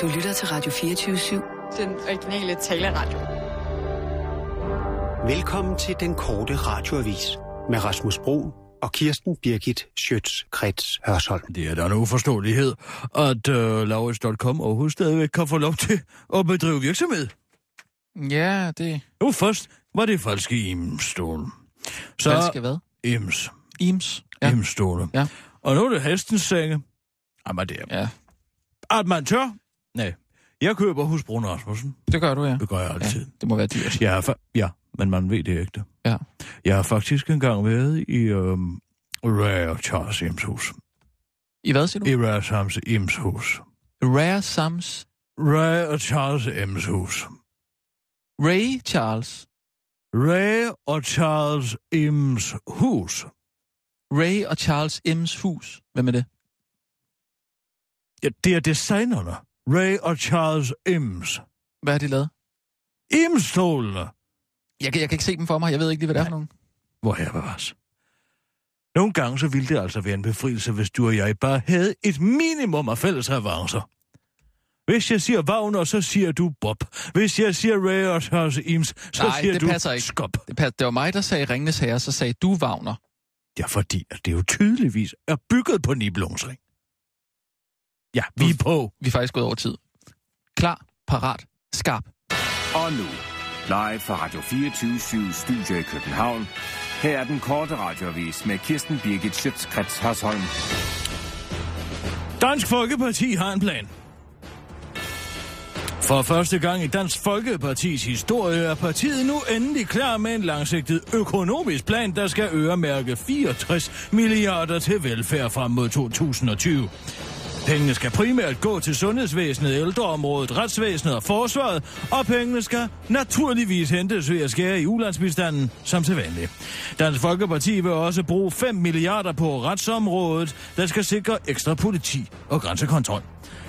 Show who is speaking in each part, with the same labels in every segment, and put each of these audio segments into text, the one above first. Speaker 1: Du lytter til Radio 24
Speaker 2: Den originale taleradio.
Speaker 3: Velkommen til den korte radioavis med Rasmus Bro og Kirsten Birgit Schøtz-Krets Hørsholm.
Speaker 4: Det er da en uforståelighed, at øh, Laurits.com overhovedet stadigvæk kan få lov til at bedrive virksomhed.
Speaker 5: Ja, det
Speaker 4: Jo, først var det falske imstål. Så
Speaker 5: falske hvad?
Speaker 4: ims.
Speaker 5: Ims.
Speaker 4: Ja.
Speaker 5: Ja.
Speaker 4: Imståle.
Speaker 5: Ja.
Speaker 4: Og nu er det hestens senge. Jamen, det er...
Speaker 5: Ja,
Speaker 4: At man tør? Nej. Jeg køber hos Brun Rasmussen.
Speaker 5: det gør du, ja.
Speaker 4: Det gør jeg altid.
Speaker 5: ja det må være dyrt.
Speaker 4: Jeg er fa- ja, men man ved det er ægte.
Speaker 5: Ja.
Speaker 4: Jeg har faktisk engang været i øhm, Rare Charles Ims hus.
Speaker 5: I hvad siger du?
Speaker 4: I Rare Charles Ims hus.
Speaker 5: Rare Sams.
Speaker 4: Rare Charles Ims hus.
Speaker 5: Ray Charles.
Speaker 4: Ray og Charles Ims hus.
Speaker 5: Ray og Charles M's hus. Hvem er det?
Speaker 4: Ja, det er designerne. Ray og Charles Ims.
Speaker 5: Hvad har de lavet?
Speaker 4: Ims-stolene.
Speaker 5: Jeg kan, jeg kan ikke se dem for mig. Jeg ved ikke lige, hvad det er for nogen.
Speaker 4: Hvor her bevares. Nogle gange så ville det altså være en befrielse, hvis du og jeg bare havde et minimum af fælles avancer. Hvis jeg siger Wagner, så siger du Bob. Hvis jeg siger Ray og Charles Ims, så
Speaker 5: Nej,
Speaker 4: siger
Speaker 5: det
Speaker 4: du
Speaker 5: passer ikke.
Speaker 4: Skop.
Speaker 5: Det, pas- det var mig, der sagde Ringnes Herre, så sagde du Wagner.
Speaker 4: Ja, fordi at det jo tydeligvis er bygget på Nibelungsring. Ja, vi er på.
Speaker 5: Vi er faktisk gået over tid. Klar, parat, skarp.
Speaker 6: Og nu, live fra Radio 24 Studio i København. Her er den korte radiovis med Kirsten Birgit Schøtzgrads Hasholm.
Speaker 4: Dansk Folkeparti har en plan. For første gang i Dansk Folkepartis historie er partiet nu endelig klar med en langsigtet økonomisk plan, der skal øremærke 64 milliarder til velfærd frem mod 2020. Pengene skal primært gå til sundhedsvæsenet, ældreområdet, retsvæsenet og forsvaret, og pengene skal naturligvis hentes ved at skære i ulandsbistanden, som til vanligt. Dansk Folkeparti vil også bruge 5 milliarder på retsområdet, der skal sikre ekstra politi og grænsekontrol.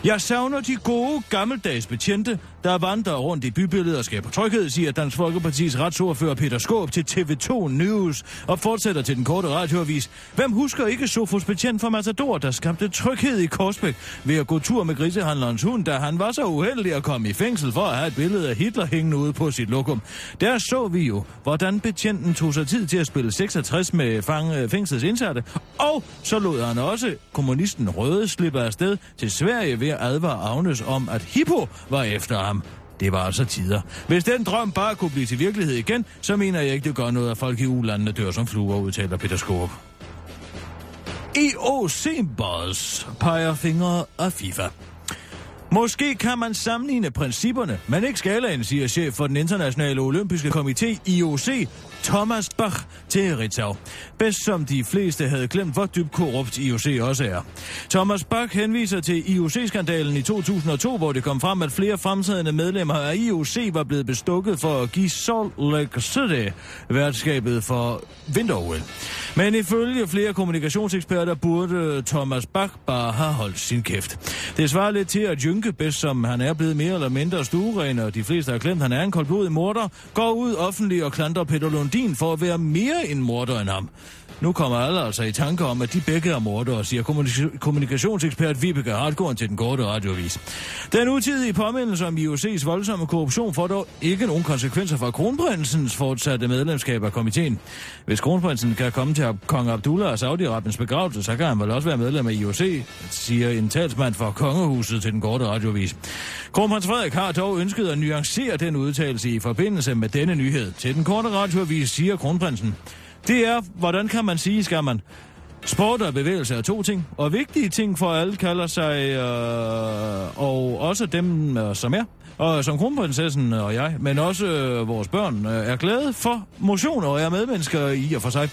Speaker 4: Jeg savner de gode, gammeldags betjente, der vandrer rundt i bybilledet og skaber tryghed, siger Dansk Folkepartis retsordfører Peter Skåb til TV2 News og fortsætter til den korte radioavis. Hvem husker ikke Sofus betjent fra Matador, der skabte tryghed i Korsbæk ved at gå tur med grisehandlerens hund, da han var så uheldig at komme i fængsel for at have et billede af Hitler hængende ude på sit lokum. Der så vi jo, hvordan betjenten tog sig tid til at spille 66 med fange, fængslets indsatte, og så lod han også kommunisten Røde slippe afsted til Sverige ved at advare Agnes om, at Hippo var efter ham. Det var altså tider. Hvis den drøm bare kunne blive til virkelighed igen, så mener jeg ikke, det gør noget, at folk i ulandene dør som fluer, udtaler Peter Skorup. IOC Boss peger fingre af FIFA. Måske kan man sammenligne principperne, men ikke skalaen, siger chef for den internationale olympiske komité IOC, Thomas Bach, til Ritzau. Bedst som de fleste havde glemt, hvor dybt korrupt IOC også er. Thomas Bach henviser til IOC-skandalen i 2002, hvor det kom frem, at flere fremtidende medlemmer af IOC var blevet bestukket for at give Salt Lake City værtskabet for vinter Men ifølge flere kommunikationseksperter burde Thomas Bach bare have holdt sin kæft. Det svarer lidt til, at Jynke, bedst som han er blevet mere eller mindre stueren, og de fleste har glemt, at han er en koldblodig morder, går ud offentligt og klandrer Peter Lundin for at være mere en morder end ham. Nu kommer alle altså i tanke om, at de begge er mordere, siger kommunik- kommunikationsekspert Vibeke Hartkorn til den korte radiovis. Den utidige påmindelse om IOC's voldsomme korruption får dog ikke nogen konsekvenser for kronprinsens fortsatte medlemskab af komiteen. Hvis kronprinsen kan komme til kong Abdullah og Saudi-Arabiens begravelse, så kan han vel også være medlem af IOC, siger en talsmand for kongehuset til den korte radiovis. Kronprins Frederik har dog ønsket at nuancere den udtalelse i forbindelse med denne nyhed. Til den korte radioavis siger kronprinsen, det er, hvordan kan man sige, skal man? Sport og bevægelse er to ting, og vigtige ting for alle kalder sig, øh, og også dem, øh, som er, og som kronprinsessen og jeg, men også øh, vores børn, øh, er glade for motion og er medmennesker i og for sig.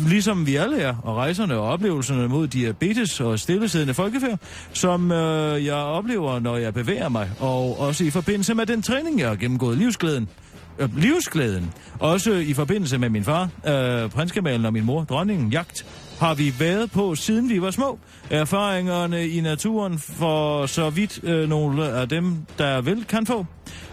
Speaker 4: Ligesom vi alle er, og rejserne og oplevelserne mod diabetes og stillesiddende folkefærd, som øh, jeg oplever, når jeg bevæger mig, og også i forbindelse med den træning, jeg har gennemgået livsglæden øh, livsglæden. Også i forbindelse med min far, øh, prinskemalen og min mor, dronningen, jagt, har vi været på, siden vi var små. Erfaringerne i naturen for så vidt øh, nogle af dem, der vil, kan få.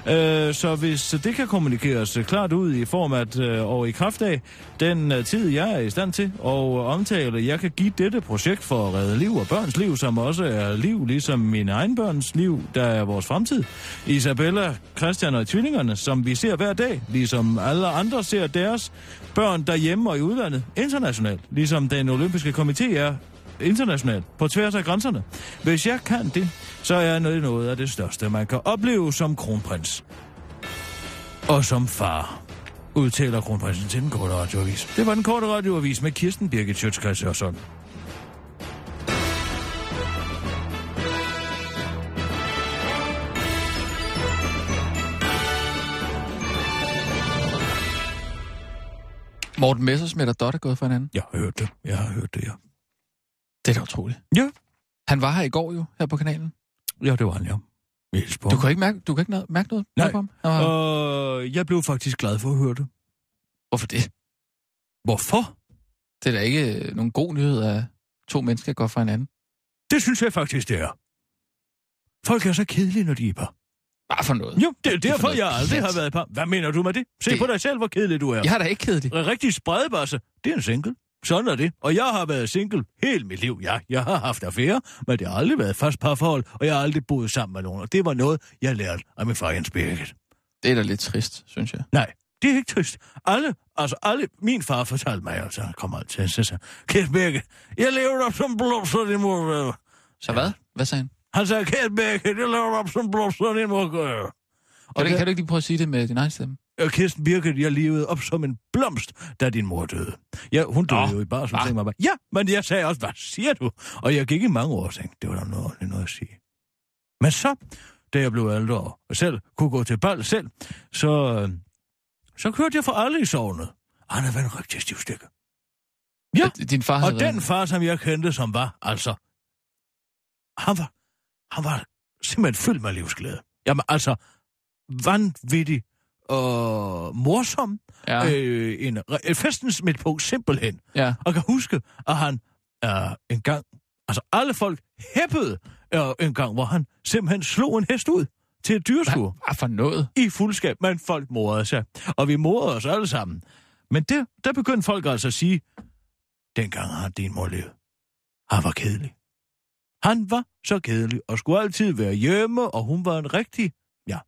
Speaker 4: Øh, så hvis det kan kommunikeres øh, klart ud i form af øh, og i kraft af den øh, tid, jeg er i stand til, og øh, omtale, jeg kan give dette projekt for at redde liv og børns liv, som også er liv, ligesom mine egen børns liv, der er vores fremtid. Isabella, Christian og tvillingerne, som vi ser hver dag, ligesom alle andre ser deres børn derhjemme og i udlandet, internationalt, ligesom den olympiske komité er internationalt, på tværs af grænserne. Hvis jeg kan det, så er jeg noget, noget af det største, man kan opleve som kronprins. Og som far, udtaler kronprinsen til den korte radioavis. Det var den korte radioavis med Kirsten Birgit Sjøtskreds Hørsson.
Speaker 5: Morten Messersmith og Dot er gået fra hinanden.
Speaker 4: Jeg har hørt det. Jeg har hørt det, ja.
Speaker 5: Det er da utroligt.
Speaker 4: Ja.
Speaker 5: Han var her i går jo, her på kanalen.
Speaker 4: Ja, det var han, ja. Vi hilste på
Speaker 5: Du
Speaker 4: ham.
Speaker 5: kan ikke mærke, du kan ikke noget, mærke noget
Speaker 4: Nej.
Speaker 5: på ham? Han var,
Speaker 4: Øh, jeg blev faktisk glad for at høre det.
Speaker 5: Hvorfor det?
Speaker 4: Hvorfor?
Speaker 5: Det er da ikke øh, nogen god nyhed, at to mennesker går fra hinanden.
Speaker 4: Det synes jeg faktisk, det er. Folk er så kedelige, når de er i par.
Speaker 5: Bare for noget.
Speaker 4: Jo, det er
Speaker 5: er for
Speaker 4: derfor,
Speaker 5: noget
Speaker 4: jeg aldrig
Speaker 5: pjat.
Speaker 4: har været i par. Hvad mener du med det? Se
Speaker 5: Det-
Speaker 4: det... på dig selv, hvor kedelig du er.
Speaker 5: Jeg er da ikke kedelig.
Speaker 4: Rigtig spredebasse, det er en single. Sådan er det. Og jeg har været single hele mit liv. Ja, jeg har haft affære, men det har aldrig været et fast parforhold, og jeg har aldrig boet sammen med nogen. Og det var noget, jeg lærte af min far Jens Birgit.
Speaker 5: Det er da lidt trist, synes jeg.
Speaker 4: Nej, det er ikke trist. Alle, altså alle, min far fortalte mig, altså, han kommer altid og siger så, Kæft Birgit, jeg lever op som blomster, din mor. gør."
Speaker 5: Så hvad? Hvad sagde han?
Speaker 4: Han sagde, Kæft Birgit, jeg lever op som blomster, din mor. gør."
Speaker 5: Kan,
Speaker 4: Og
Speaker 5: du,
Speaker 4: det-
Speaker 5: kan du ikke lige prøve at sige det med din egen stemme?
Speaker 4: Og Øh, Kirsten Birgit, jeg levede op som en blomst, da din mor døde. Ja, hun døde
Speaker 5: Nå,
Speaker 4: jo i barsel,
Speaker 5: hva?
Speaker 4: tænkte mig. Ja, men jeg sagde også, hvad siger du? Og jeg gik i mange år og tænkte, det var da noget, ordentligt noget at sige. Men så, da jeg blev ældre og selv kunne gå til bal selv, så, øh, så kørte jeg for alle i sovnet. Han var en rigtig stivstikke. Ja.
Speaker 5: At Din far havde
Speaker 4: Og
Speaker 5: været-
Speaker 4: den far, som jeg kendte, som var, altså... Han var, han var simpelthen fyldt med livsglæde. Jamen, altså, vanvittig og morsom.
Speaker 5: Ja,
Speaker 4: Øh, en, re- festens midtpunkt, simpelthen.
Speaker 5: ja.
Speaker 4: Og kan huske, at han øh, en gang... Altså, alle folk hæppede øh, en gang, hvor han simpelthen slog en hest ud til et dyrskur
Speaker 5: Hvad for noget?
Speaker 4: i fuldskab, men folk morede sig. Og vi morede os alle sammen. Men der, der begyndte folk altså at sige, dengang har din mor levet. Han var kedelig. Han var så kedelig og skulle altid være hjemme, og hun var en rigtig... Ja,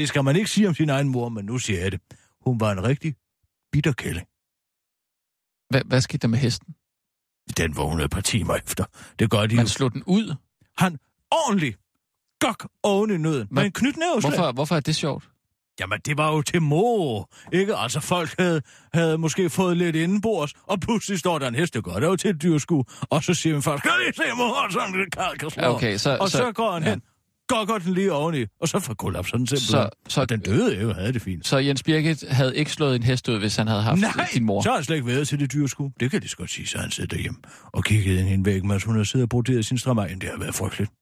Speaker 4: det skal man ikke sige om sin egen mor, men nu siger jeg det. Hun var en rigtig bitter kælling.
Speaker 5: Hvad, hvad skete der med hesten?
Speaker 4: Den vågnede et par timer efter. Det gør de jo.
Speaker 5: Man slog den ud.
Speaker 4: Han ordentligt gok oven i nøden.
Speaker 5: Hvad-
Speaker 4: Men knytnæveslag.
Speaker 5: Hvorfor, hvorfor er det sjovt?
Speaker 4: Jamen, det var jo til mor, ikke? Altså, folk havde, havde måske fået lidt indenbords, og pludselig står der en hest, det gør det jo til et dyrskue, og så siger man først, kan lige se mor, sådan en karl kan slå.
Speaker 5: Ja, okay, så,
Speaker 4: og så,
Speaker 5: så,
Speaker 4: går han
Speaker 5: ja.
Speaker 4: hen, går, går den lige oveni, og så får kollapser den simpelthen.
Speaker 5: så,
Speaker 4: Så,
Speaker 5: så,
Speaker 4: og den døde jo, havde det fint.
Speaker 5: så Jens Birgit havde ikke slået en hest ud, hvis han havde haft
Speaker 4: Nej,
Speaker 5: din mor.
Speaker 4: så har han slet ikke været til det dyrskue. Det kan de så godt sige, så han sidder derhjemme og kiggede ind i en væg, mens hun har siddet og broderet sin strammer. Jamen, det har været frygteligt.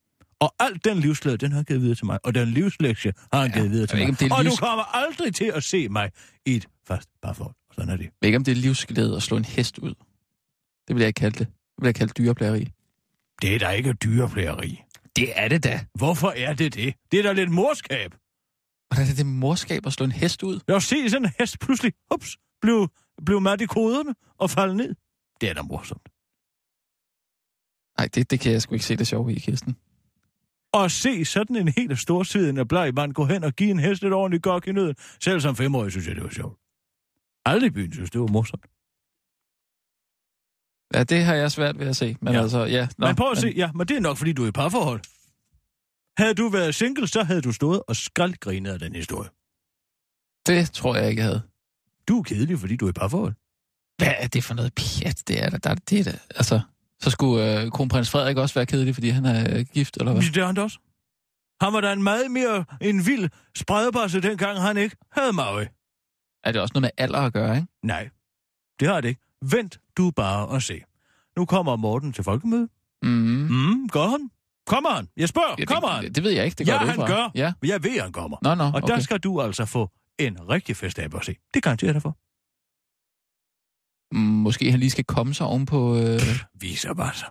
Speaker 4: Og alt den livslæde, den har han givet videre til mig. Og den livslektie har han
Speaker 5: Ja,
Speaker 4: ja, givet videre
Speaker 5: jeg
Speaker 4: til
Speaker 5: ved
Speaker 4: mig.
Speaker 5: ikke, om det er
Speaker 4: Og
Speaker 5: livs-
Speaker 4: du kommer aldrig til at se mig i et fast parforhold. Sådan er det.
Speaker 5: Jeg ved ikke, om det er livsglæde at slå en hest ud. Det vil jeg ikke kalde det. Det vil jeg kalde dyreplageri.
Speaker 4: Det er da ikke dyreplageri.
Speaker 5: Det er det da.
Speaker 4: Hvorfor er det det? Det er da lidt morskab.
Speaker 5: Hvordan er det morskab at slå en hest ud?
Speaker 4: Jeg se sådan en hest pludselig, ups, blev, blev mat i koderne og falde ned. Det er da morsomt.
Speaker 5: Nej, det, det kan jeg sgu ikke se det sjove i, Kirsten.
Speaker 4: Og se sådan en helt storsiden af bleg mand gå hen og give en hest et ordentligt gok i nøden. Selv som femårig synes jeg, det var sjovt. Alle i byen synes, det var morsomt.
Speaker 5: Ja, det har jeg svært ved at se. Men ja.
Speaker 4: Ja.
Speaker 5: altså, ja.
Speaker 4: Nå, men prøv at se, ja, men det er nok, fordi du er i parforhold. Havde du været single, så havde du stået og skraldgrinet af den historie.
Speaker 5: Det tror jeg ikke, jeg havde.
Speaker 4: Du er kedelig, fordi du er i parforhold.
Speaker 5: Hvad er det for noget pjat, det er der? der er det der. Altså, så skulle øh, kronprins Frederik også være kedelig, fordi han er øh, gift, eller hvad?
Speaker 4: Det er han da også. Han var da en meget mere en vild spredebasse, dengang han ikke havde Maui.
Speaker 5: Er det også noget med alder at gøre, ikke?
Speaker 4: Nej, det har det ikke. Vent du bare og se. Nu kommer Morten til folkemøde.
Speaker 5: Mm.
Speaker 4: Mm, gør han? Kommer han? Jeg spørger,
Speaker 5: Ja,
Speaker 4: kommer han?
Speaker 5: det, det ved jeg ikke, det
Speaker 4: Ja,
Speaker 5: går det ud
Speaker 4: han
Speaker 5: fra.
Speaker 4: gør.
Speaker 5: Ja,
Speaker 4: Jeg ved, han kommer.
Speaker 5: Nå, nå,
Speaker 4: Og
Speaker 5: okay.
Speaker 4: der skal du altså få en rigtig fest af at se. Det garanterer jeg dig for.
Speaker 5: Mm, Måske han lige skal komme sig ovenpå... Øh...
Speaker 4: Viser bare sig.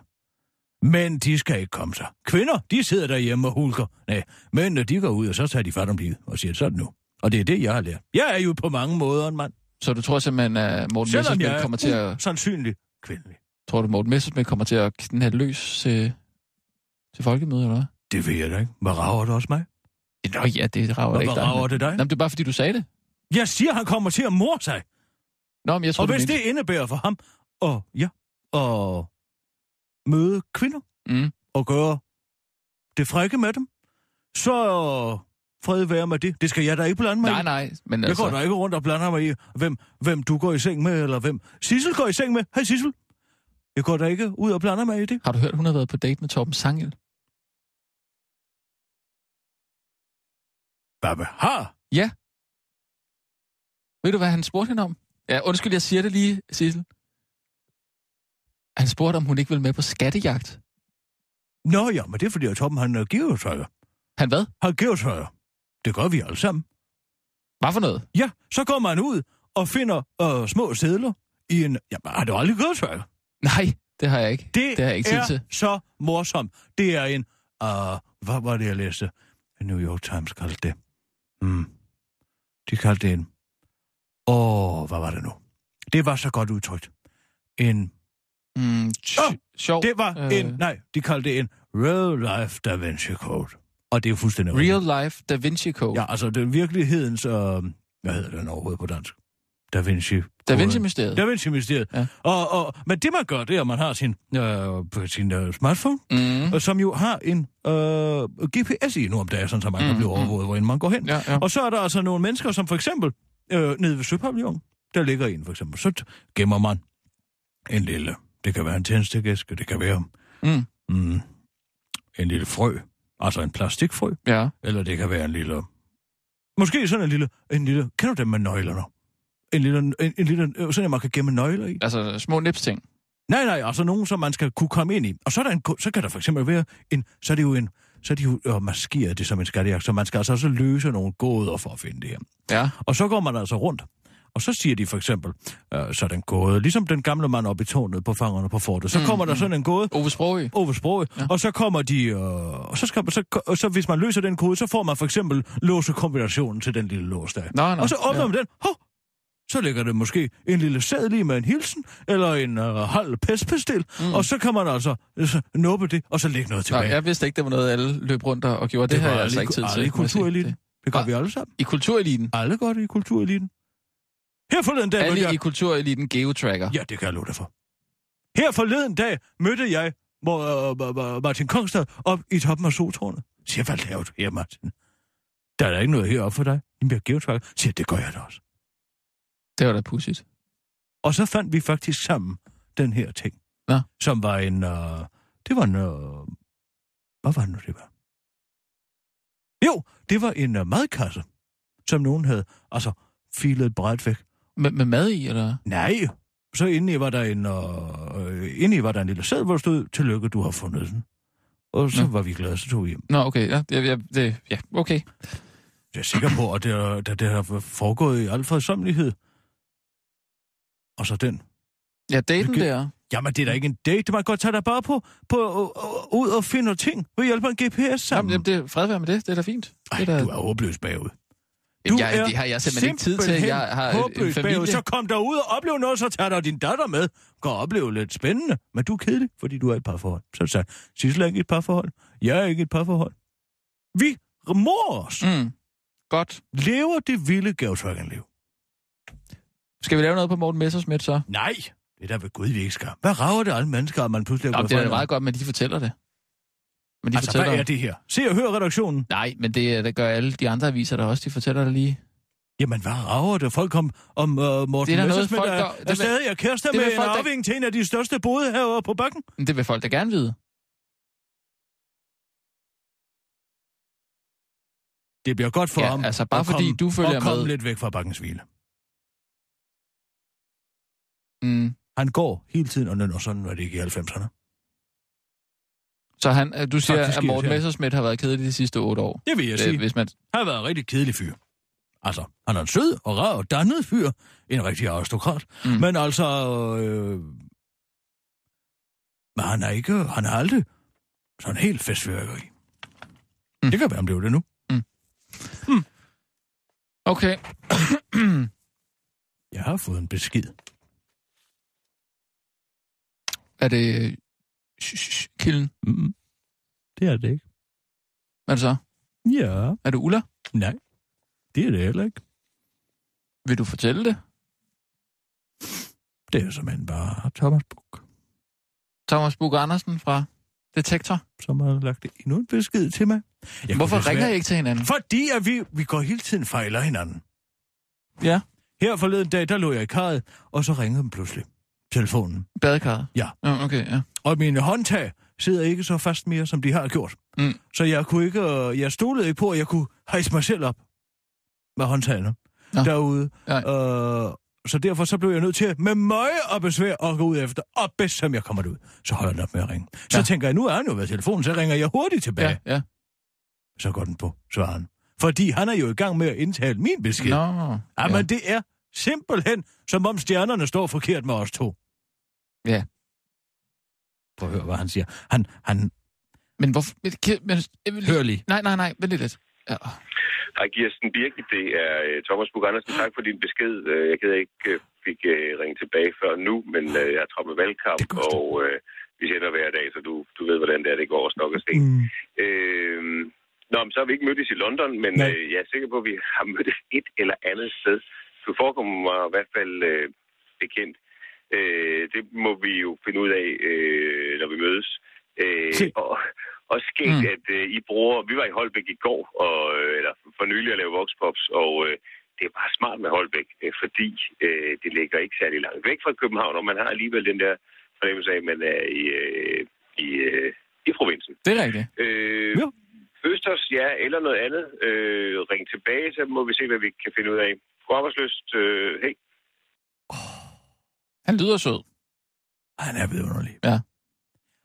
Speaker 4: Men de skal ikke komme sig. Kvinder, de sidder derhjemme og hulker. Nej, mændene, de går ud, og så tager de fat om livet og siger sådan nu. Og det er det, jeg har lært. Jeg er jo på mange måder en mand.
Speaker 5: Så du tror simpelthen, at Morten
Speaker 4: Selvom jeg
Speaker 5: Messersmith
Speaker 4: er
Speaker 5: kommer til at...
Speaker 4: sandsynlig kvindelig.
Speaker 5: Tror du, Morten Messersmith kommer til at knalde løs til, til folkemødet, eller hvad?
Speaker 4: Det ved jeg da ikke. Hvad rager det også mig?
Speaker 5: Nå ja, det rager
Speaker 4: Hvad
Speaker 5: ikke dig.
Speaker 4: rager det dig?
Speaker 5: Nå, men det er bare, fordi du sagde det.
Speaker 4: Jeg siger, han kommer til at mor sig.
Speaker 5: Nå, men jeg tror,
Speaker 4: Og
Speaker 5: du
Speaker 4: hvis
Speaker 5: mente-
Speaker 4: det indebærer for ham og ja, og møde kvinder
Speaker 5: Mm.
Speaker 4: og gøre det frække med dem, så fred være med det. Det skal jeg da ikke blande mig
Speaker 5: Nej,
Speaker 4: i.
Speaker 5: nej, men
Speaker 4: Jeg
Speaker 5: altså...
Speaker 4: går da ikke rundt og blander mig i, hvem, hvem du går i seng med, eller hvem Sissel går i seng med. Hej Sissel. Jeg går da ikke ud og blander mig i det.
Speaker 5: Har du hørt, hun har været på date med Torben Sangel?
Speaker 4: Babbe har.
Speaker 5: Ja. Ved du, hvad han spurgte hende om? Ja, undskyld, jeg siger det lige, Sissel. Han spurgte, om hun ikke ville med på skattejagt.
Speaker 4: Nå ja, men det er fordi, at Torben han er geotøjer.
Speaker 5: Han hvad?
Speaker 4: Han geotøjer. Det gør vi alle sammen.
Speaker 5: Hvad for noget?
Speaker 4: Ja, så går man ud og finder øh, små sædler i en... Ja, har du aldrig geotøjer?
Speaker 5: Nej, det har jeg ikke.
Speaker 4: Det,
Speaker 5: det har jeg ikke tid
Speaker 4: er
Speaker 5: til.
Speaker 4: så morsomt. Det er en... Uh, hvad var det, jeg læste? New York Times kaldte det. Mm. De kaldte det en... Åh, oh, hvad var det nu? Det var så godt udtrykt. En... Åh,
Speaker 5: Mm, oh, sjov.
Speaker 4: Det var øh...
Speaker 5: øh,
Speaker 4: en... Nej, de kaldte det en Real Life Da Vinci Code. Og det er fuldstændig rigtigt.
Speaker 5: Real life Da Vinci Code.
Speaker 4: Ja, altså det er virkelighedens... Øh... Hvad hedder den overhovedet på dansk? Da Vinci...
Speaker 5: Da
Speaker 4: Code.
Speaker 5: Vinci Mysteriet.
Speaker 4: Da Vinci-mysteriet. Ja.
Speaker 5: Ja.
Speaker 4: Og, og, men det, man gør, det er, at man har sin, øh, på sin øh, smartphone,
Speaker 5: Mm.
Speaker 4: mm. som jo har en øh, GPS i nu om dagen, sådan, så man kan
Speaker 5: Mm,
Speaker 4: blive overvåget, hvor man går hen.
Speaker 5: Ja, ja.
Speaker 4: Og så er der altså nogle mennesker, som for eksempel øh, nede ved Søpavillon, der ligger en for eksempel, så t- gemmer man en lille, det kan være en tændstikæske, det kan være
Speaker 5: Mm.
Speaker 4: Mm, en lille frø, altså en plastikfrø,
Speaker 5: ja.
Speaker 4: eller det kan være en lille, måske sådan en lille, en lille kender du dem med nøglerne? En lille, en, en lille, øh, sådan at man kan gemme nøgler i.
Speaker 5: Altså små nipsting.
Speaker 4: Nej, nej, altså nogen, som man skal kunne komme ind i. Og så, er der en, ku- så kan der for eksempel være en, så er det jo en, så er de jo øh, maskeret det som en skattejagt, så man skal altså også løse nogle gåder for at finde det her.
Speaker 5: Ja.
Speaker 4: Og så går man altså rundt, og så siger de for eksempel, øh, så er der en gåde, ligesom den gamle mand oppe i tårnet på fangerne på fortet, så kommer der sådan en gåde,
Speaker 5: Ove Sprogø.
Speaker 4: over sproget, ja. og så kommer de, øh, og så, skal, så, og så hvis man løser den kode, så får man for eksempel låsekombinationen til den lille lås der.
Speaker 5: Nå, nå,
Speaker 4: og så åbner
Speaker 5: ja.
Speaker 4: man den, hov, så ligger det måske en lille sæd lige med en hilsen, eller en øh, halv pestpestil, mm. og så kan man altså øh, så nuppe det, og så lægge noget
Speaker 5: Nå,
Speaker 4: tilbage.
Speaker 5: jeg vidste ikke, det var noget, alle løb rundt og og gjorde. Det, det
Speaker 4: gør
Speaker 5: har jeg
Speaker 4: alle
Speaker 5: altså
Speaker 4: i-
Speaker 5: ikke tid til.
Speaker 4: Alle i
Speaker 5: må jeg sige.
Speaker 4: kultureliten.
Speaker 5: Det-
Speaker 4: Det gør
Speaker 5: Ah.
Speaker 4: vi alle sammen.
Speaker 5: I kultureliten.
Speaker 4: Alle gør det i kultureliten. Her forleden dag... mødte
Speaker 5: Alle
Speaker 4: jeg-
Speaker 5: i kultureliten geotracker.
Speaker 4: Ja, det kan jeg love dig for. Her forleden dag mødte jeg Mo- øh, Ma- Ma- Martin Kongstad op i toppen af soltårnet. Siger, hvad laver du her, Martin? Der er da ikke noget heroppe for dig. Jamen, jeg er geotracker. Siger, det gør jeg da også.
Speaker 5: Det var da pudsigt.
Speaker 4: Og så fandt vi faktisk sammen den her ting.
Speaker 5: Nå.
Speaker 4: Som var en... Øh, det var en... Øh, hvad var det nu, det var? Jo, det var en øh, madkasse, som nogen havde altså filet et bræt væk.
Speaker 5: Med, med mad i, eller?
Speaker 4: Nej. Så inde i var der en, øh, inde i var der en lille sæd, hvor der stod, tillykke, du har fundet den. Og så
Speaker 5: Nå.
Speaker 4: var vi glade, så tog vi hjem.
Speaker 5: Nå, okay. Ja, det, ja, det, ja okay.
Speaker 4: Jeg er sikker på, at det, er- det, det har foregået i al fredsomlighed. Og så den.
Speaker 5: Ja, daten
Speaker 4: Hvilket-
Speaker 5: der.
Speaker 4: Jamen, det er da ikke en date. Det må Man kan godt tage dig bare på, på øh, ud og finde ting ved hjælp af en GPS sammen.
Speaker 5: Jamen, jamen, det, fred være med det. Det er da fint.
Speaker 4: Ej,
Speaker 5: det er da,
Speaker 4: du er håbløs bagud.
Speaker 5: Jamen,
Speaker 4: du
Speaker 5: jeg,
Speaker 4: er
Speaker 5: det har jeg simpelthen ikke tid til.
Speaker 4: simpelthen
Speaker 5: Jeg har øh, en, en
Speaker 4: Håbløs
Speaker 5: familie.
Speaker 4: bagud. Så kom der ud og oplev noget, så tager der din datter med. Gå og opleve lidt spændende. Men du er kedelig, fordi du er i et parforhold. Så sagde jeg, Sissel er ikke i et parforhold. Jeg er ikke i et parforhold. Vi mor os. Mm.
Speaker 5: Mm. Godt.
Speaker 4: Lever det vilde gavetrækkenliv.
Speaker 5: Skal vi lave noget på Morten Messersmith så?
Speaker 4: Nej, det er der ved Gud, vi ikke skal. Hvad rager det alle mennesker, at man pludselig
Speaker 5: Jamen,
Speaker 4: gået
Speaker 5: det er
Speaker 4: fra
Speaker 5: da
Speaker 4: hinanden?
Speaker 5: meget godt, men de fortæller det. Men de
Speaker 4: Altså,
Speaker 5: fortæller
Speaker 4: hvad er det her? Se og hør redaktionen.
Speaker 5: Nej, men det, det gør alle de andre aviser der også. De fortæller det lige.
Speaker 4: Jamen, hvad rager det? Folk om, om uh, Morten
Speaker 5: Det er da noget,
Speaker 4: Messerschmidt
Speaker 5: folk,
Speaker 4: er,
Speaker 5: der-
Speaker 4: er,
Speaker 5: det vil-
Speaker 4: stadig er kærester
Speaker 5: det
Speaker 4: med
Speaker 5: vil
Speaker 4: en
Speaker 5: folk, der-
Speaker 4: arving til en af de største bodehaver på bakken.
Speaker 5: Men det vil folk da gerne vide.
Speaker 4: Det bliver godt for
Speaker 5: Ja,
Speaker 4: ham.
Speaker 5: altså, bare
Speaker 4: at
Speaker 5: fordi
Speaker 4: komme-
Speaker 5: du følger
Speaker 4: at komme
Speaker 5: med.
Speaker 4: lidt væk fra bakkens hvile.
Speaker 5: Mm.
Speaker 4: Han går hele tiden og nynner sådan, var det ikke i 90'erne.
Speaker 5: Så han, øh, du siger,
Speaker 4: Faktisk
Speaker 5: at Morten
Speaker 4: irriterende.
Speaker 5: Messersmith har været kedelig de sidste otte år.
Speaker 4: Det vil jeg sige.
Speaker 5: Øh, Hvis man,
Speaker 4: Han har været en rigtig kedelig fyr. Altså, han er en sød og rar og dannet fyr. En rigtig aristokrat. Mm.
Speaker 5: Mm.
Speaker 4: Men altså... Øh, Men han er ikke, han er aldrig sådan helt festfyrkeri. Mm. Det kan være, han blev det nu.
Speaker 5: Okay.
Speaker 4: Jeg har fået en besked.
Speaker 5: er det... øh, sh- sh- sh- Kilden?
Speaker 4: Mm. Det er det ikke.
Speaker 5: Hvad er det så?
Speaker 4: Ja,
Speaker 5: Er det Ulla?
Speaker 4: nej. Det er det heller ikke.
Speaker 5: Vil du fortælle det?
Speaker 4: Det er simpelthen bare Thomas Buk,
Speaker 5: Thomas Bug Andersen fra Detektor.
Speaker 4: som har lagt endnu en besked til mig. Jeg
Speaker 5: Hvorfor
Speaker 4: kunne
Speaker 5: ringer
Speaker 4: desværre-
Speaker 5: I ikke til hinanden?
Speaker 4: Fordi at vi, vi går hele tiden fejler hinanden.
Speaker 5: Ja.
Speaker 4: Her forleden dag, der lå jeg i karret, og så ringede den pludselig. Telefonen.
Speaker 5: Badekarret?
Speaker 4: Ja.
Speaker 5: ja okay, ja.
Speaker 4: Og mine håndtag sidder ikke så fast mere, som de har gjort.
Speaker 5: Mm.
Speaker 4: Så jeg kunne ikke, øh, jeg stolede ikke på, at jeg kunne hejse mig selv op med håndtagene
Speaker 5: Nå.
Speaker 4: ja. derude.
Speaker 5: Ja.
Speaker 4: Øh, så derfor så blev jeg nødt til med møje og besvær at gå ud efter, og bedst som jeg kommer ud, så holder den op med at ringe. Så
Speaker 5: Ja.
Speaker 4: tænker jeg, nu er han jo ved telefonen, så ringer jeg hurtigt tilbage.
Speaker 5: Ja, ja.
Speaker 4: Så går den på, svarer han. Fordi han er jo i gang med at indtale min besked.
Speaker 5: Nå.
Speaker 4: Jamen,
Speaker 5: ja.
Speaker 4: ja. det er simpelthen, som om stjernerne står forkert med os to.
Speaker 5: Ja.
Speaker 4: Prøv at høre, hvad han siger. Han, han,
Speaker 5: Men hvorfor... Men, men, men,
Speaker 4: hør lige.
Speaker 5: Nej, nej, nej. Vent lige lidt. Ja.
Speaker 7: Hej Kirsten Birgit, det er øh, Thomas Bug Andersen. Tak for din besked. Øh, Jeg kan ikke øh, fik øh, ringe tilbage før nu, men øh, jeg tror med valgkamp,
Speaker 4: Det koster.
Speaker 7: og øh, vi sender hver dag, så du, du ved, hvordan det er, det går over stok og sten.
Speaker 4: Mm.
Speaker 7: Øh, nå, men så har vi ikke mødtes i London, men
Speaker 4: Nej.
Speaker 7: øh, jeg er sikker på, at vi har mødtes et eller andet sted. Du forekommer mig i hvert fald øh, bekendt. Øh, det må vi jo finde ud af, øh, når vi mødes. Øh,
Speaker 4: Se.
Speaker 7: og, og sket,
Speaker 5: Mm.
Speaker 7: mm. at øh, I bruger... Vi var i Holbæk i går, og, øh, eller for nylig at lave voxpops, og øh, det er bare smart med Holbæk, øh, fordi øh, det ligger ikke særlig langt væk fra København, og man har alligevel den der fornemmelse af, at man er i, øh, i, øh, i provinsen.
Speaker 5: Det er rigtigt.
Speaker 7: Øh,
Speaker 4: Ja.
Speaker 7: ja. Østers, ja, eller noget andet. Øh, ring tilbage, så må vi se, hvad vi kan finde ud af. God arbejdsløst. Øh, hey.
Speaker 5: Han lyder sød.
Speaker 4: Han er vidunderlig.
Speaker 5: Ja.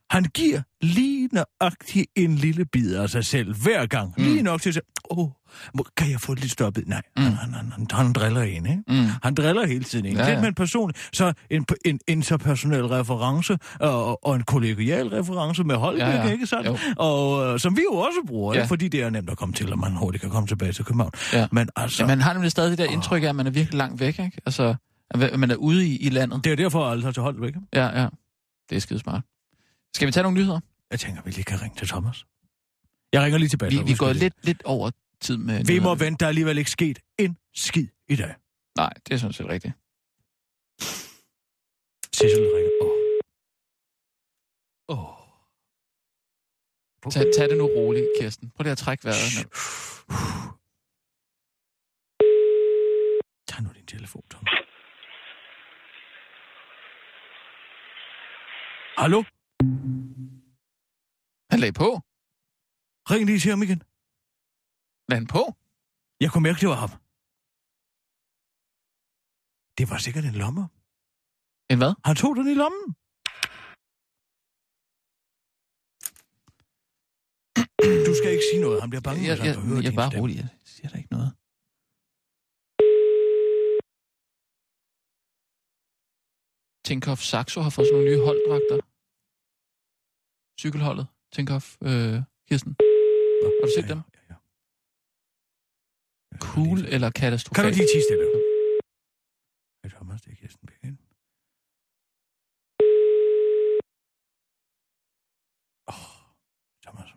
Speaker 4: Han giver lige nøjagtigt en lille bid af sig selv hver gang. Mm. Lige nok til sig. Åh, oh, kan jeg få det lidt stoppet? Nej, mm. han, han, han, han, han driller en, ikke?
Speaker 5: Mm.
Speaker 4: Han driller hele tiden en.
Speaker 5: Ja,
Speaker 4: Ja, ja.
Speaker 5: ja.
Speaker 4: Lidt med en person, så en, en interpersonel reference og, og- og en kollegial reference med Holbæk,
Speaker 5: Ja,
Speaker 4: ja,
Speaker 5: ja.
Speaker 4: ja. ikke sandt?
Speaker 5: Jo.
Speaker 4: Og øh, som vi jo også bruger,
Speaker 5: Ja.
Speaker 4: ja. fordi det er nemt at komme til, og man hurtigt kan komme tilbage til København.
Speaker 5: Ja.
Speaker 4: Men altså,
Speaker 5: Så. Man har nemlig stadig det der indtryk af, at man er virkelig langt væk, ikke? Altså, at hva- at man er ude i, i landet.
Speaker 4: det er derfor, jeg aldrig tager til Holbæk. ikke?
Speaker 5: Ja, ja. Det er skide smart. Skal vi tage nogle nyheder?
Speaker 4: Jeg tænker, vi lige kan ringe til Thomas. Jeg ringer lige tilbage.
Speaker 5: Vi,
Speaker 4: så
Speaker 5: vi
Speaker 4: husker
Speaker 5: går
Speaker 4: det.
Speaker 5: lidt, lidt over tid med...
Speaker 4: Vi må
Speaker 5: nyhederne.
Speaker 4: vente, der er alligevel ikke sket en skid i dag.
Speaker 5: Nej, det er sådan set rigtigt.
Speaker 4: Sissel ringer. Åh. Åh.
Speaker 5: Tag, tag det nu roligt, Kirsten. Prøv lige at trække vejret. ned.
Speaker 4: Tag nu din telefon, Thomas. Hallo?
Speaker 5: Han lagde på.
Speaker 4: Ring lige til ham igen.
Speaker 5: Lagde han på?
Speaker 4: Jeg kunne mærke, det var ham. Det var sikkert en lomme.
Speaker 5: En hvad?
Speaker 4: Han tog den i lommen. Du skal ikke sige noget. Han bliver bange,
Speaker 5: jeg,
Speaker 4: hvis
Speaker 5: jeg,
Speaker 4: han får hørt
Speaker 5: jeg, jeg
Speaker 4: din
Speaker 5: er bare
Speaker 4: stemme.
Speaker 5: rolig. Jeg siger der ikke noget. Tinkoff Saxo har fået sådan nogle nye holddragter. Cykelholdet. Tinkoff øh, Kirsten.
Speaker 4: Nå,
Speaker 5: Har du set
Speaker 4: ja,
Speaker 5: dem?
Speaker 4: Ja, ja, ja.
Speaker 5: Cool eller
Speaker 4: Kan
Speaker 5: katastrofalt?
Speaker 4: du lige tige stille? Hej Thomas, det er Kirsten Birken. Åh, Thomas.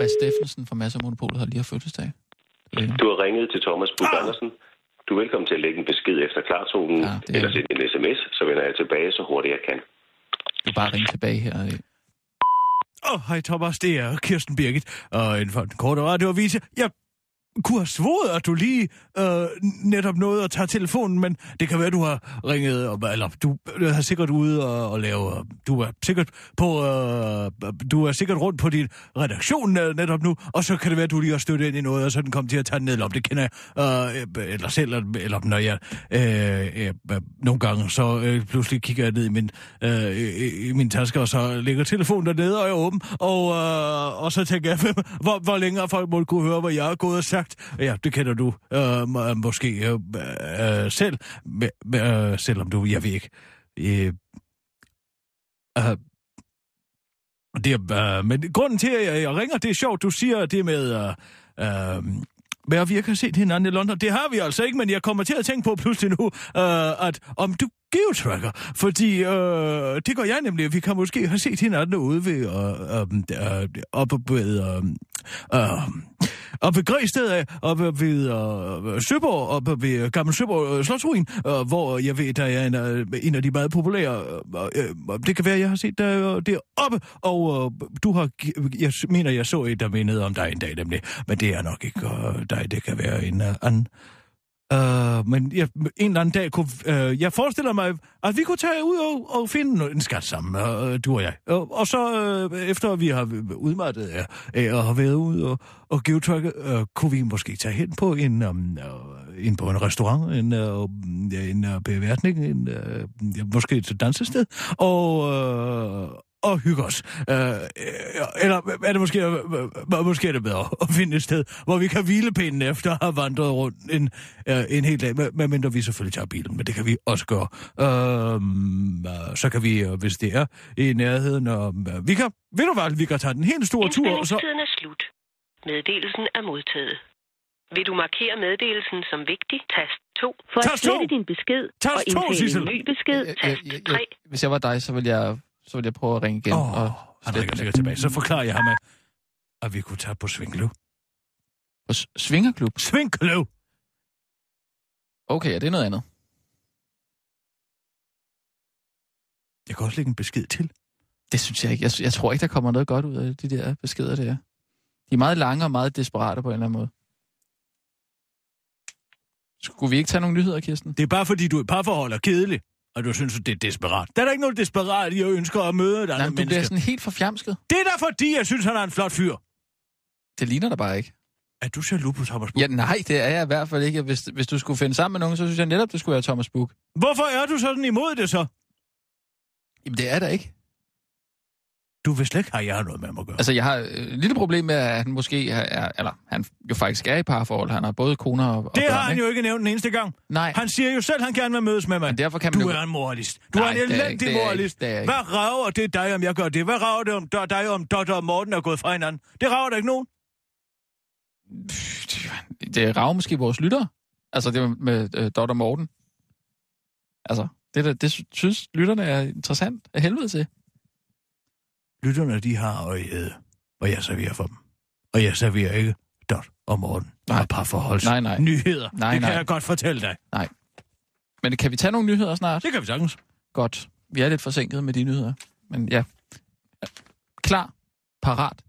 Speaker 5: Mads Steffensen fra Mads og Monopolet har lige haft fødselsdag. Øh,
Speaker 7: Du har ringet til Thomas Bug Andersen. Du er velkommen til at lægge en besked efter klartonen,
Speaker 5: Ja, det er- eller sende
Speaker 7: en sms, så vender jeg tilbage så hurtigt jeg kan.
Speaker 5: Du bare ringe tilbage her. øh.
Speaker 4: Åh, oh, hej Thomas, det er Kirsten Birgit. Og inden for den korte radioavise, jeg kunne have svoret, at du lige øh, netop nåede at tage telefonen, men det kan være, du har ringet, op, eller du øh, har sikkert ude og, og lave, øh, du er sikkert på, øh, du er sikkert rundt på din redaktion øh, netop nu, og så kan det være, at du lige har stødt ind i noget, og så er den kom til at tage den ned, eller om det kender jeg, øh, øh, eller selv, eller- eller når jeg øh, øh, øh, nogle gange, så øh, pludselig kigger jeg ned i min, øh, øh, i min taske, og så ligger telefonen dernede, og jeg er åben, og, øh, og så tænker jeg, hvor, hvor længe har folk måtte kunne høre, hvad jeg har gået og sagt. Ja, det kender du øh, må- måske øh, øh, selv, men- men, øh, selvom du, jeg ved ikke, øh, øh, Det er, øh, men grunden til, at jeg ringer, det er sjovt, du siger det med... Øh, øh, hvad vi ikke har set hinanden i London. Det har vi altså ikke, men jeg kommer til at tænke på pludselig nu, øh, at om du geotracker, fordi øh, det gør jeg nemlig, vi kan måske have set hinanden ude ved, øh, øh, øh, oppe ved, øh, øh, oppe ved Græsted af, oppe ved øh, Søborg, oppe ved Gammel Søborg øh, Slotsruin, øh, hvor jeg ved, der er en, øh, en af de meget populære, øh, øh, det kan være, jeg har set dig øh, deroppe, og øh, du har, gi- jeg s- mener, jeg så et, der mindede om dig en dag nemlig, men det er nok ikke øh, dig, det kan være en øh, anden. Øh, men jeg, en eller anden dag kunne... Øh, jeg forestiller mig, at vi kunne tage ud og, og finde en skat sammen, øh, du og jeg. Og, og så øh, efter vi har udmattet jer øh, og har været ude og, og geotracket, øh, kunne vi måske tage hen på en, øh, øh, en, på en restaurant, en, øh, ja, en øh, beværtning, en, øh, ja, måske et dansested, og... Øh, og hygge os. Øh, øh, eller er det måske, øh, måske er det bedre at finde et sted, hvor vi kan hvile pinden efter at have vandret rundt en, øh, en hel dag, med- medmindre vi selvfølgelig tager bilen, men det kan vi også gøre. Øh, øh, så kan vi, øh, hvis det er i nærheden, og, øh, vi kan, ved du hvad, vi kan tage den helt store tur, og så...
Speaker 8: Indspilningstiden er slut. Meddelelsen er modtaget. Vil du markere meddelelsen som vigtig? Tast 2.
Speaker 9: For at
Speaker 4: Tast to!
Speaker 9: slette din besked
Speaker 4: Tast
Speaker 9: og
Speaker 4: to,
Speaker 9: indtale
Speaker 4: Sissel.
Speaker 9: en ny besked,
Speaker 5: Jeg- jeg- jeg-
Speaker 9: tast 3.
Speaker 5: Hvis jeg var dig, så ville jeg, så ville jeg prøve at ringe igen.
Speaker 4: Åh,
Speaker 5: og
Speaker 4: han ringer sikkert tilbage. Så forklarer jeg ham, at- at vi kunne tage på Svinkløv.
Speaker 5: På S- Svingerklub?
Speaker 4: Svinkløv!
Speaker 5: Okay, ja, det er noget andet.
Speaker 4: Jeg kan også lægge en besked til.
Speaker 5: Det synes jeg ikke. Jeg, jeg tror ikke, der kommer noget godt ud af de der beskeder der. De er meget lange og meget desperate på en eller anden måde. Skulle vi ikke tage nogle nyheder, Kirsten?
Speaker 4: Det er bare fordi, du er i parforhold og kedelig, og du synes, at det er desperat. Der er da ikke noget desperat, jeg ønsker at møde et
Speaker 5: Nej,
Speaker 4: andet
Speaker 5: men du bliver
Speaker 4: menneske.
Speaker 5: sådan helt forfjamsket.
Speaker 4: Det er da fordi, jeg synes, han er en flot fyr.
Speaker 5: Det ligner der bare ikke.
Speaker 4: Er du jaloux på Thomas Buch?
Speaker 5: Ja, nej, det er jeg i hvert fald ikke. Hvis, hvis du skulle finde sammen med nogen, så synes jeg netop, det skulle være Thomas Buk.
Speaker 4: Hvorfor er du sådan imod det så?
Speaker 5: Jamen, det er der ikke.
Speaker 4: Du vil slet ikke have, at jeg har noget med ham at gøre.
Speaker 5: Altså, jeg har øh, et lille problem med, at han måske er, er, eller han jo faktisk er i parforhold. Han har både koner og, og
Speaker 4: det
Speaker 5: børn,
Speaker 4: har han
Speaker 5: ikke?
Speaker 4: jo ikke nævnt den eneste gang.
Speaker 5: Nej, han...
Speaker 4: Han siger jo selv, at han gerne vil mødes med mig.
Speaker 5: men derfor kan man
Speaker 4: Du
Speaker 5: jo...
Speaker 4: er en moralist. Du
Speaker 5: Nej,
Speaker 4: er en
Speaker 5: det er jeg ikke.
Speaker 4: elendig
Speaker 5: Det er jeg ikke.
Speaker 4: moralist.
Speaker 5: Det er jeg ikke.
Speaker 4: Hvad rager det dig, om jeg gør det? Hvad rager det om dig- dig, om Dotter og Morten er gået fra hinanden? Det rager der ikke nogen.
Speaker 5: Det rager måske vores lyttere. Altså, det med øh, Dot og Morten. Altså, det, der, det synes lytterne er interessant af helvede til.
Speaker 4: Lytterne, de har øjet, og jeg serverer for dem. Og jeg serverer ikke Dot og Morten.
Speaker 5: Nej.
Speaker 4: Og parforholds.
Speaker 5: Nej, nej.
Speaker 4: Nyheder.
Speaker 5: Nej,
Speaker 4: det kan
Speaker 5: nej.
Speaker 4: jeg godt fortælle dig.
Speaker 5: Men kan vi tage nogle nyheder snart?
Speaker 4: Det kan vi sagtens.
Speaker 5: Godt. Vi er lidt forsinket med de nyheder. Men ja. Klar. Parat.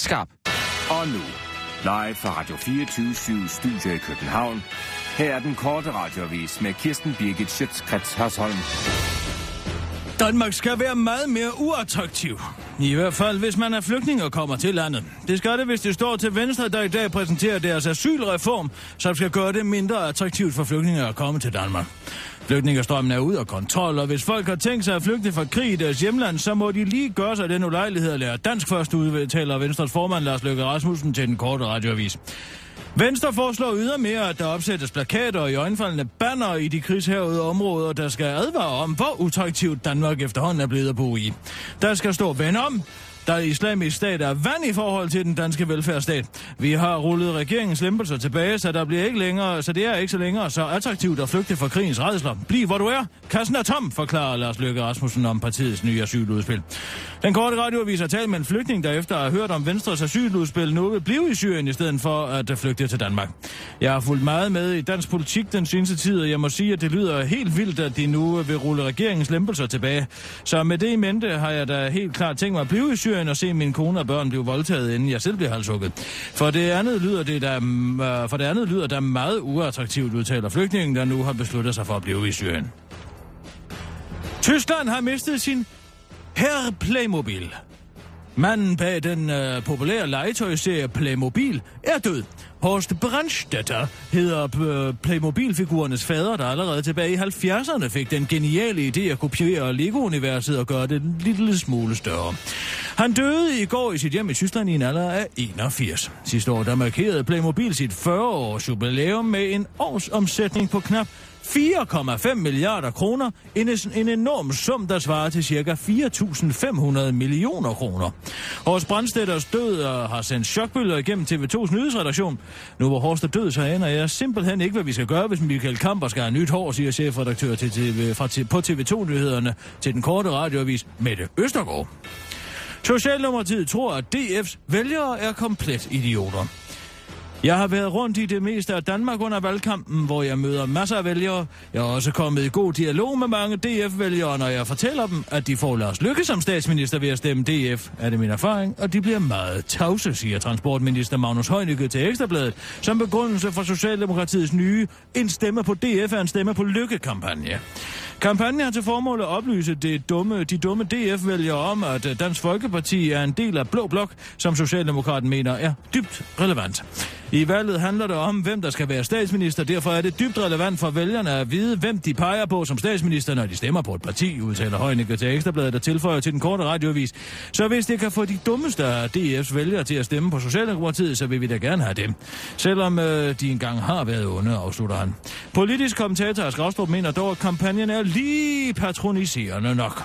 Speaker 5: Skarp.
Speaker 6: Og nu, live fra Radio 24 Studio i København. Her er den korte radiovis med Kirsten Birgit Schøtzgrads Hasholm.
Speaker 4: Danmark skal være meget mere uattraktiv. I hvert fald, hvis man er flygtning og kommer til landet. Det skal det, hvis det står til Venstre, der i dag præsenterer deres asylreform, som skal gøre det mindre attraktivt for flygtninge at komme til Danmark. Flygtningestrømmen er ud af kontrol, og hvis folk har tænkt sig at flygte fra krig i deres hjemland, så må de lige gøre sig den ulejlighed at lære dansk først, udtaler Venstres formand Lars Løkke Rasmussen til den korte radioavis. Venstre foreslår ydermere, at der opsættes plakater og i øjenfaldende banner i de krigshævede områder, der skal advare om, hvor utraktivt Danmark efterhånden er blevet at bo i. Der skal stå vend om, der i islamisk stat er vand i forhold til den danske velfærdsstat. Vi har rullet regeringens lempelser tilbage, så der bliver ikke længere, så det er ikke så længere så attraktivt at flygte fra krigens redsler. Bliv hvor du er. Kassen er tom, forklarer Lars Løkke Rasmussen om partiets nye asyludspil. Den korte radioavis har talt med en flygtning, der efter at have hørt om Venstres asyludspil nu vil blive i Syrien i stedet for at øh, flygte til Danmark. Jeg har fulgt meget med i dansk politik den seneste tid, og jeg må sige, at det lyder helt vildt, at de nu vil rulle regeringens lempelser tilbage. Så med det i mente har jeg da helt klart tænkt mig at blive i Syrien og se min kone og børn blive voldtaget, inden jeg selv bliver halshugget. For det andet lyder det, der, øh, for det andet lyder der meget uattraktivt, udtaler flygtningen, der nu har besluttet sig for at blive i Syrien. Tyskland har mistet sin Herr Playmobil. Manden bag den øh, populære legetøjserie Playmobil er død, Horst Brandstetter hedder øh, Playmobil-figurernes fader, der allerede tilbage i 70'erne fik den geniale idé at kopiere Lego-universet og gøre det en lille smule større. Han døde i går i sit hjem i Tyskland i en alder af 81. Sidste år der markerede Playmobil sit 40-års jubilæum med en års omsætning på knap 4,5 milliarder kroner, en, en enorm sum, der svarer til ca. 4.500 millioner kroner. Horst Brandstedters død øh, har sendt chokbølger igennem TV2's nyhedsredaktion. Nu hvor Horst er død, så aner jeg simpelthen ikke, hvad vi skal gøre, hvis Michael Kamper skal have nyt hår, siger chefredaktør til TV, fra, til- på TV2-nyhederne til den korte radioavis Mette Østergaard. Socialdemokratiet tror, at DF's vælgere er komplet idioter. Jeg har været rundt i det meste af Danmark under valgkampen, hvor jeg møder masser af vælgere. Jeg er også kommet i god dialog med mange DF-vælgere, når jeg fortæller dem, at de får Lars Lykke som statsminister ved at stemme DF, er det min erfaring, og de bliver meget tavse, siger transportminister Magnus Heunicke til Ekstrabladet, som begrundelse for Socialdemokratiets nye En stemme på DF er en stemme på Lykke-kampagne. Kampagnen har til formål at oplyse det dumme, de dumme DF-vælgere om, at øh, Dansk Folkeparti er en del af Blå Blok, som Socialdemokraten mener er dybt relevant. I valget handler det om, hvem der skal være statsminister. Derfor er det dybt relevant for vælgerne at vide, hvem de peger på som statsminister, når de stemmer på et parti, udtaler Heunicke til Ekstrabladet, der tilføjer til den korte radioavis. Så hvis det kan få de dummeste af DF's vælgere til at stemme på Socialdemokratiet, så vil vi da gerne have dem. Selvom øh, de engang har været onde, afslutter han. Politisk kommentator Skravstrup mener dog, at kampagnen er lige patroniserende nok.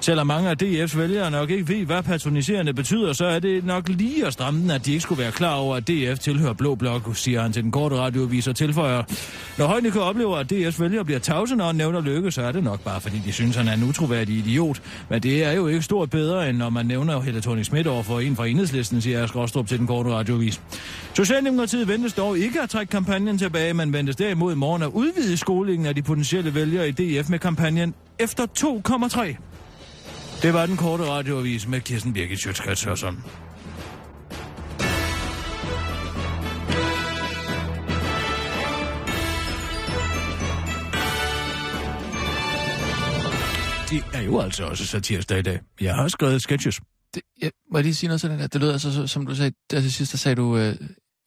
Speaker 4: Selvom mange af DF's vælgere nok ikke ved, hvad patroniserende betyder, så er det nok lige at stramme den, at de ikke skulle være klar over, at DF tilhører Blå Blok, siger han til den korte radioavis og tilføjer. Når Højnække oplever, at DF's vælgere bliver tavse, når han nævner lykke, så er det nok bare, fordi de synes, han er en utroværdig idiot. Men det er jo ikke stort bedre, end når man nævner Helle thorning Schmidt over for en fra enhedslisten, siger Ask Rostrup til den korte radioavis. Socialdemokratiet ventes dog ikke at trække kampagnen tilbage, men ventes derimod i morgen at udvide skolingen af de potentielle vælgere i DF med kampagnen efter 2,3. Det var den korte radioavis med Kirsten Birgit Sjøtskrets Hørsson. Det er jo altså også satirsdag i dag. Jeg har skrevet sketches.
Speaker 5: Det, jeg, må jeg lige sige noget til den der? Det lød altså, så- som du sagde, der til sidst, der sagde du, øh,